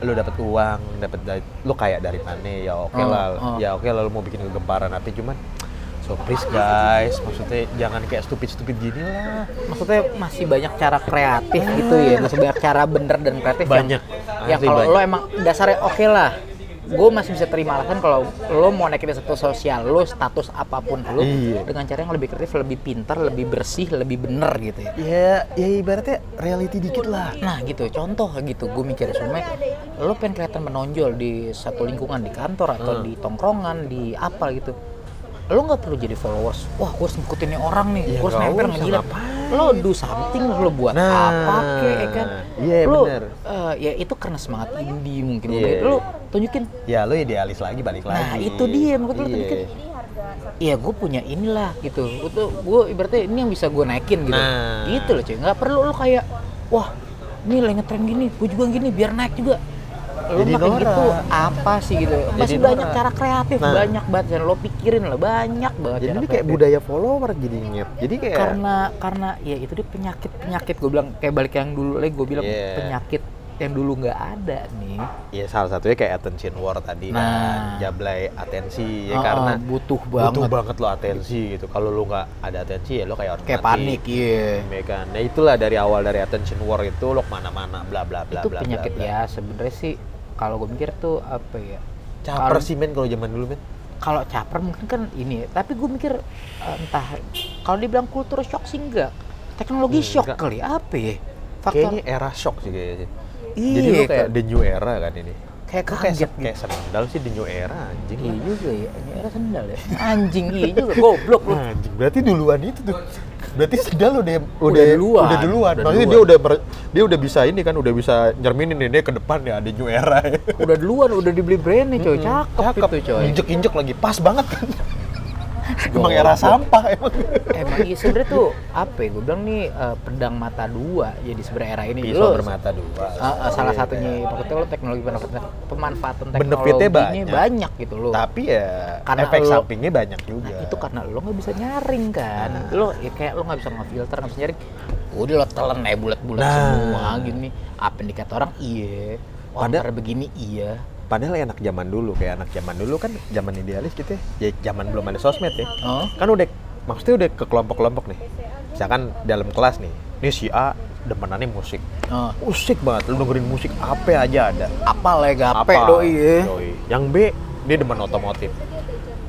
lu dapat uang dapat dari lu kayak dari mana ya oke
Oh,
lah
oh.
ya oke lah lu mau bikin kegemparan tapi cuman so please guys maksudnya jangan kayak stupid stupid gini lah
maksudnya masih banyak cara kreatif gitu ya masih banyak cara bener dan kreatif
Banyak.
yang,
Asli
yang kalau
banyak.
lo emang dasarnya oke lah gue masih bisa terima alasan kalau lo mau naikin status sosial lo status apapun lo
Iya.
dengan cara yang lebih kreatif lebih pintar lebih bersih lebih bener gitu ya
ya ya ibaratnya reality dikit lah
nah gitu contoh gitu gue mikir semuanya lo pengen kelihatan menonjol di satu lingkungan di kantor atau
Hmm.
di tongkrongan di apa gitu lo nggak perlu jadi followers wah gue harus ngikutin nih orang nih
Ya,
gue harus
nggak
nempel
usah,
ngejilat
ngapain?
lo do something lo buat
Nah,
apa kek ya kan
iya,
lo
bener.
eh, ya itu karena semangat indie mungkin
Iya.
lo tunjukin
ya lu idealis lagi balik lagi
Nah, itu dia, maksud lu
Iya.
tadi kan- Iya, gue punya inilah gitu. Itu gue ibaratnya ini yang bisa gue naikin gitu.
Nah.
Gitu loh, cuy. Nggak perlu lo kayak, wah, ini lagi ngetren gini, gue juga gini, biar naik juga. Lo
Jadi
makin
norak.
gitu apa sih gitu? Masih
norak.
banyak cara kreatif,
Nah.
banyak banget yang lo pikirin lah, banyak banget.
jadi
cara
ini kayak
kreatif.
budaya follower jadinya jadi kayak
Karena karena ya itu dia penyakit penyakit gue bilang kayak balik yang dulu lagi gue bilang
Iya.
penyakit yang dulu nggak ada nih.
ya salah satunya kayak attention war tadi
Nah.
kan jablay atensi ya
Ah,
karena
butuh
butuh
banget.
banget lo atensi gitu kalau lo nggak ada atensi ya lo kayak orang
Kayak
mati.
panik, iya.
Ya kan? nah itulah dari awal dari attention war itu lo kemana-mana bla bla bla
itu
bla, bla,
penyakit
bla.
ya sebenarnya sih kalau gue mikir tuh apa ya
caper
Kalau-
sih men kalau zaman dulu men
kalau caper mungkin kan ini ya, tapi gue mikir eh, entah kalau dibilang kultur shock sih enggak teknologi
Hmm,
shock
enggak.
kali apa ya faktor
kayaknya era shock sih kayaknya sih.
Iya,
jadi lo kayak
kan.
the new era kan ini Lo
kayak
kayak,
kaget
se-
gitu
kayak sandal sih the new era anjing
iya juga ya ini era sendal ya anjing iya juga goblok lu
Nah, anjing, berarti duluan itu tuh. Berarti sendal udah udah
duluan.
Udah duluan.
Udah
Maksudnya
duluan.
dia udah ber- dia udah bisa ini kan udah bisa nyerminin nih dia ke depan ya ada new era.
udah duluan udah dibeli brand nih coy cakep,
Hmm, Cakep
itu coy
Injek-injek lagi pas banget kan. Emang era sampah emang.
emang iya sebenernya tuh apa ya gue bilang nih eh, pedang mata dua jadi sebenernya era ini
Pisau
Lo-
bermata dua.
Ah, ah, salah satunya maksudnya lo teknologi pemanfaatan- pemanfaatan
Benefitnya
teknologinya banyak.
banyak.
gitu lo
Tapi ya
Karena
efek
lo-
sampingnya banyak juga.
nah, itu karena lo nggak bisa nyaring kan
Ah.
lo ya kayak lo nggak bisa ngefilter nggak bisa nyaring udah lo telan aja bulat-bulat
Nah.
semua gini apa yang dikata orang iya
Ada-
order begini iya
Padahal enak zaman dulu kayak anak zaman dulu kan zaman idealis gitu ya. Ya zaman belum ada sosmed ya.
oh
kan udah maksudnya udah ke kelompok-kelompok nih misalkan dalam kelas nih ini si A demenannya musik
oh
musik banget lu dengerin musik apa aja ada
apa lah gape
apa
doi ya
Doi. yang B dia demen otomotif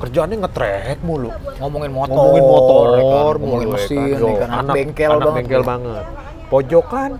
kerjaannya ngetrek mulu
ngomongin motor
ngomongin motor ya kan,
ngomongin
mulu ya
mesin
kan. Yo,
ya kan, anak, bengkel
anak
banget
bengkel banget pojokan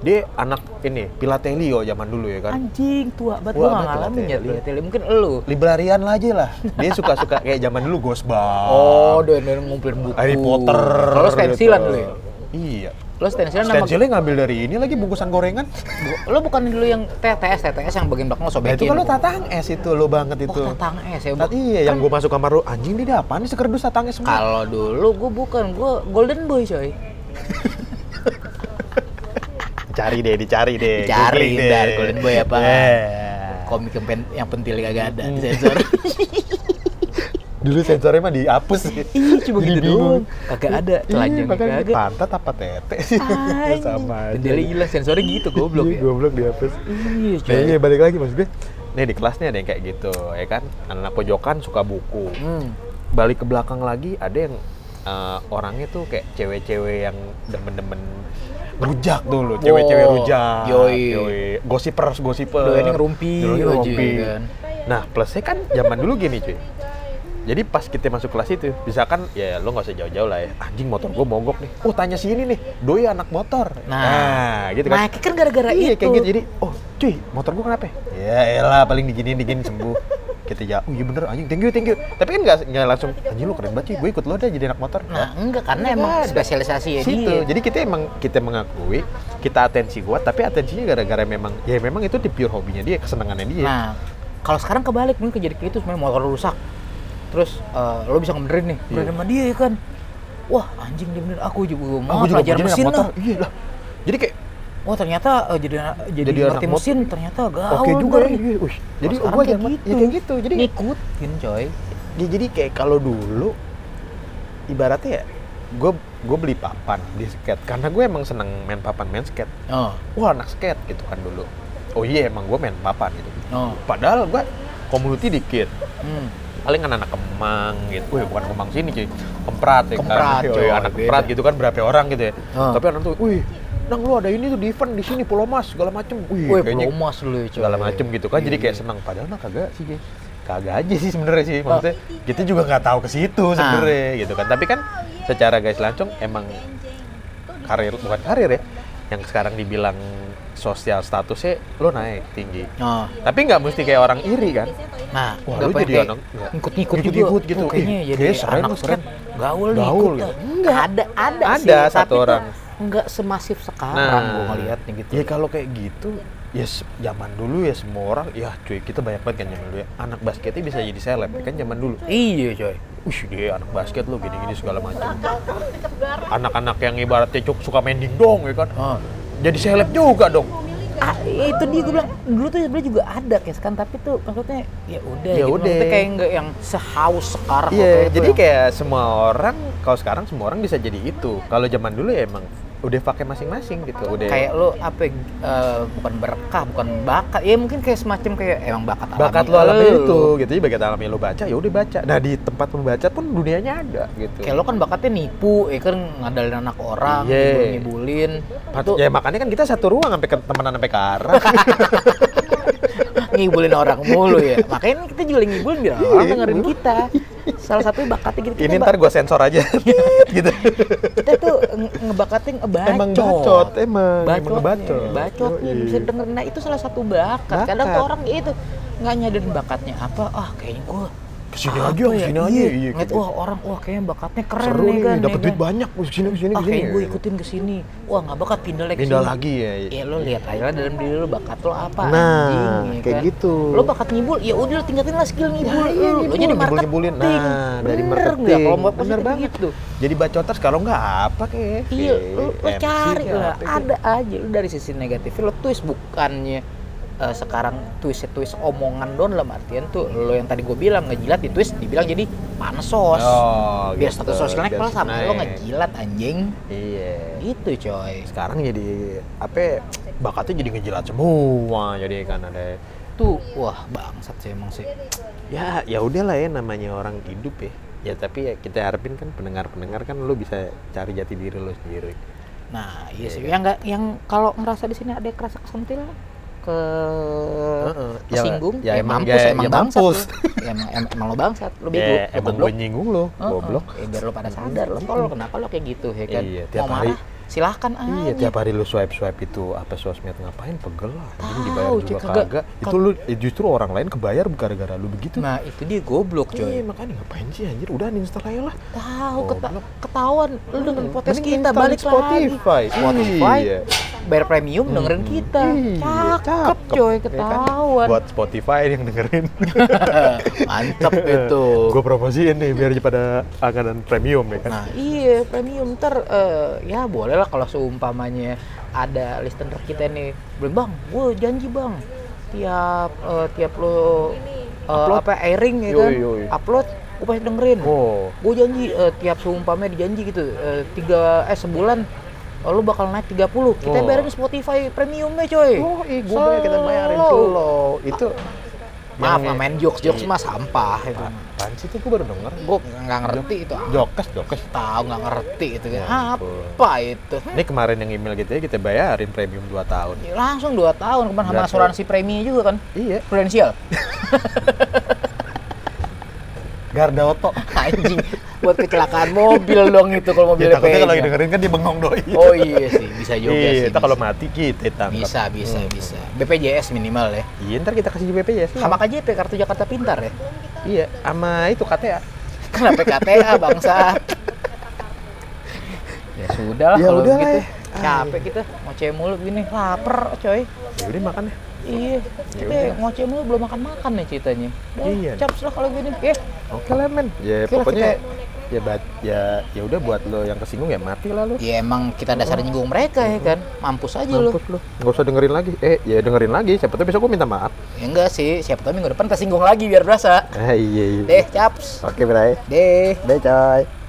dia anak ini pilateli yo zaman dulu ya kan
anjing tua banget
Tua
gue nggak
banget iya.
ngalamin ya
Tele.
Tele. Tele. mungkin elu
librarian lah aja lah dia suka-suka kayak zaman dulu gosbang
oh doyan doyan ngumpulin buku
Harry Potter
Oh. kalau lo stensilan
gitu.
lo ya
iya
lo stensilan nama
Stensilnya ngambil dari ini lagi bungkusan gorengan.
Bu- lo bukan dulu yang TTS TTS yang bagian belakang lo
Nah,
sobekin
itu kalau tatang es itu lo banget
oh
itu.
tatang es ya Bu.
Tat- iya, yang gue masuk kamar lo anjing di depan nih sekerdus tatang es semua.
kalau dulu gue bukan gue golden boy coy
Cari deh, dicari deh.
Dicari,
googling deh.
ntar golden boy apa.
Eh.
komik yang, pen, yang pentil kagak ada
Hmm.
sensor
Dulu sensornya mah dihapus.
ih cuma
Jadi
gitu
bingung.
doang kagak ada telanjang
makanya
kagak
Pantat apa tete sih?
Anjing.
Sama aja.
Jendela hilang sensornya gitu goblok
Iya,
ya.
Goblok dihapus.
Iya,
Nah,
coy.
iya, balik lagi maksud gue. Nih di kelas nih ada yang kayak gitu, ya kan? Anak pojokan suka buku.
Hmm.
balik ke belakang lagi ada yang eh, orangnya tuh kayak cewek-cewek yang demen-demen rujak dulu, cewek-cewek
Wow.
rujak,
Yoi.
gosipers, gosipers,
Doyannya ngerumpi
Doyannya
aja,
ngerumpi.
ya kan?
Nah plusnya kan zaman dulu gini cuy, jadi pas kita masuk kelas itu, misalkan ya lo nggak usah jauh-jauh lah ya, anjing motor gue mogok nih, oh tanya si ini nih, doi anak motor,
Nah,
gitu kan,
Nah, kan gara-gara
iya
itu.
kayak gitu jadi oh cuy motor gua kenapa ya? ya elah paling diginiin diginiin sembuh kita ya oh iya bener anjing thank you thank you tapi kan nggak nggak langsung anjing lu keren banget cuy gue ikut lo deh jadi anak motor
Nah, enggak karena emang
Iya, Nggak ada.
spesialisasi ya
situ
dia.
jadi kita emang kita mengakui kita atensi gua tapi atensinya gara-gara memang ya memang itu di pure hobinya dia kesenangannya dia
Nah, kalau sekarang kebalik mungkin jadi kayak itu sebenarnya motor lu rusak. Terus eh, lo bisa ngebenerin nih, benerin
Iya.
sama dia ya kan. Wah, anjing dia bener aku juga
Ah,
mau
gua
belajar
mau jadi anak
mesin lah.
iya lah jadi kayak
Oh, ternyata eh, jadi jadi,
Jadi
ngerti
anak motor.
mesin ternyata gaul.
oke juga ya
bener.
iya, wih. jadi gua
Kalau sekarang kayak
zaman-
gitu.
ya kayak gitu jadi
ngikutin coy.
Ya, jadi kayak kalau dulu ibaratnya ya gue gue beli papan di skate karena gue emang seneng main papan main skate
Oh,
wah anak skate gitu kan dulu oh iya emang gue main papan gitu
oh.
padahal gue community dikit
Hmm.
paling anak-anak kemang gitu wih bukan kemang sini cuy kemprat ya
Kemprat,
kan Yoi,
coy,
anak
beda.
kemprat gitu kan berapa orang gitu ya
Ah.
tapi anak tuh wih nang lu ada ini tuh di event di sini Pulau Mas segala macem wih Iya,
Wih,
kayaknya
belum mas dulu ya, coy. Iya.
segala macem gitu kan jadi kayak senang padahal mah kagak sih Jay. kagak aja sih sebenarnya sih
Oh.
maksudnya kita juga nggak tahu ke situ
Ah.
sebenarnya gitu kan tapi kan secara guys lancung emang karir bukan karir ya yang sekarang dibilang sosial statusnya lo naik tinggi
Oh.
tapi nggak mesti kayak orang iri kan
Nah,
Wah,
nggak
lu
pakai
jadi anak- nggak.
ngikut-ngikut juga.
Ngikut-ngikut gitu.
Oh, kayaknya
Ih,
jadi
kayaknya seren,
anak
keren.
keren. Gaul nih.
Gaul
ikut
gitu.
lah. Enggak. Ada, ada,
Ada
sih.
satu
tapi tuh
orang.
Nggak semasif sekarang gue ngeliatnya gitu.
Nah. ya kalau kayak gitu ya se- zaman dulu ya semua orang ya cuy kita banyak banget kan zaman dulu ya anak basketnya bisa jadi seleb ya kan zaman dulu
Iya coy.
Wih, dia anak basket lo gini-gini segala macam. Anak-anak yang ibaratnya cuk suka main dong ya kan.
Oh.
Jadi seleb juga dong.
Ah, itu dia gue bilang dulu tuh sebenarnya juga ada kes kan tapi tuh maksudnya ya udah
Ya
gitu.
udah.
Maksudnya kayak nggak yang sehaus sekarang waktu
Iya,
itu ya.
jadi
yang-
kayak semua orang kalau sekarang semua orang bisa jadi itu. Kalau zaman dulu ya emang udah pakai masing-masing gitu, udah
kayak lo apa ya, eh, bukan berkah bukan bakat ya mungkin kayak semacam kayak emang bakat alami
bakat lo alami
lo.
itu gitu. Jadi bakat alami lo baca ya udah baca. Nah, di tempat membaca pun dunianya ada gitu.
kayak lo kan bakatnya nipu ya kan ngadalin anak orang
Iya.
ngibulin
Patut- ya makanya kan kita satu ruang sampai ke temenan sampai ke arah.
ngibulin orang mulu ya makanya kita juga ngibulin biar orang
Iya,
dengerin
ngibulin.
kita salah satu bakatnya gitu
Ini
kita,
ntar gua sensor aja. gitu.
kita tuh nge- ngebakatnya ngebacot
Emang bacot, emang, emang
bacotnya,
ngebacot.
bacotnya
Yoi.
bisa dengerin nah itu salah satu bakat, kadang
Bakat.
tuh orang itu nggak nyadarin bakatnya apa ah kayaknya gua
kesini
Apa
aja, kesini aja.
iya.
Iya,
Ngeliat,
gitu.
wah orang wah kayaknya bakatnya keren
Seru
nih
nih,
kan
dapat
ya
duit
kan?
banyak, wah, kesini, kesini,
ah
kesini.
kayak gue ikutin ke sini wah nggak bakat pindah lagi ke
Pindah
sini.
lagi ya.
ya lo lihat aja lah dalam diri lo bakat lo apa
Nah,
anjing, ya
kayak
kan?
gitu.
lo bakat ngibul ya udah lo tingkatin lah skill ngibul
iya,
lo. lo
ngibul,
jadi marketing
ngibul-ngibulin. Nah, dari
Bener
marketing.
nggak? kalau mau
Bener
positif
banget.
gitu
Jadi bacoters kalau nggak apa kayak
iya lo, lo
MC Oh,
cari
kayak
lah
apa kayak.
ada aja lo dari sisi negatif lo twist bukannya eh, sekarang twist twist omongan doang dalam artian tuh lo yang tadi gue bilang ngejilat di twist dibilang jadi pansos
Oh,
biar
gitu.
status sosial naik
Biar
malah sama lo
naik.
ngejilat anjing
Iya.
gitu coy
Sekarang jadi apa ya, bakatnya jadi ngejilat semua jadi kan ada
tuh wah bangsat sih emang sih
ya ya udahlah ya namanya orang hidup ya ya tapi ya kita harapin kan pendengar-pendengar kan lo bisa cari jati diri lo sendiri
Nah, iya sih. Yang nggak, yang kalau ngerasa di sini ada yang kerasa kesentil, ke
Heeh. Ya,
kesinggung,
ya emang-
mampus,
ya
emang
emang
bangsat
mampus.
lu. Ya, emang, em- emang lo bangsat, lo
ya,
bego, lo
emang
goblok.
gue nyinggung lo
Heeh.
goblok
Ya, biar lo pada sadar, lo tolol kenapa lo kayak gitu, ya kan?
Iya, tiap
Mau
hari.
marah, silahkan aja.
Iya tiap hari lu swipe swipe itu apa sosmed ngapain pegel lah anjing
Tahu,
dibayar juga
cuy,
kagak,
kagak-
itu lu eh, justru orang lain kebayar gara-gara lu begitu
Nah, itu dia goblok,
Iya
coy.
makanya ngapain sih anjir udah uninstall aja lah
Tahu keta-
Goblok. Iya,
ketahuan lu dengan podcast
Mending
kita
install
balik
Spotify.
lagi. Spotify.
Iya.
Bayar premium dengerin kita.
Iya,
Cakep, coy,
ya kan?
ketahuan.
Buat Spotify yang dengerin
Mantep itu.
Gue promosiin nih biar pada angkatan premium ya kan
Nah iya premium ntar eh, ya boleh lah kalau seumpamanya ada listener kita nih belum bang, gue janji bang tiap eh, tiap lo eh,
Upload.
apa airing ya
Yoi,
kan
yoi.
upload gue pasti dengerin.
Oh
Gue janji eh, tiap seumpamanya dijanji gitu eh, tiga eh sebulan eh, lo bakal naik 30 kita
Oh.
bayarin Spotify premiumnya coy.
Oh, ih, gue bayar kita bayarin Iya,
Slow.
dulu. Itu
Maaf,
yang-
main jokes jokes mah sampah itu.
Apaan sih itu gue baru denger
Gue nggak ngerti itu.
Jokes, jokes
Tahu nggak ngerti itu
Ya
kan.
ampun.
Apa itu? Hmm.
Ini kemarin yang email gitu ya kita bayarin premium 2 tahun
Ya, langsung 2 tahun kemarin sama
Berarti-
asuransi premi juga kan
Iya
prudensial
Garda Oto
anjing buat kecelakaan mobil dong itu kalau
Ya
mobilnya
takutnya kalau
penya.
dengerin kan dia bengong doi
oh iya sih bisa juga
Iya,
sih
kita kalau Hmm.
bisa.
mati kita tangkap.
bisa bisa bisa BPJS minimal ya
Iya, ntar kita kasih BPJS.
sama KJP kartu Jakarta Pintar ya
Iya, sama itu KTA.
kenapa KTA bangsa ya sudah lah
Ya
kalau
udahlah
begitu
ya.
capek kita ngoceh mulu gini lapar coy
Ya udah makan ya.
iya kita
udah.
ngoceh mulu belum makan makan nih ceritanya
Iya.
iya. cap lah kalau gini eh
Oke lah men. Ya
Oke lah,
pokoknya ya
kita-
bat, ya ya udah buat lo yang kesinggung ya mati lah lo.
Ya emang kita dasar nyinggung mereka ya kan. Mampus aja lu.
Mampus Iya lo. Gak usah dengerin lagi. Eh, ya dengerin lagi. Siapa tahu besok gue minta maaf.
Ya enggak sih, siapa tahu minggu depan kita singgung lagi biar berasa.
Ah, Eh, iya iya.
Deh, caps.
Oke, Bray.
Deh.
Bye, coy.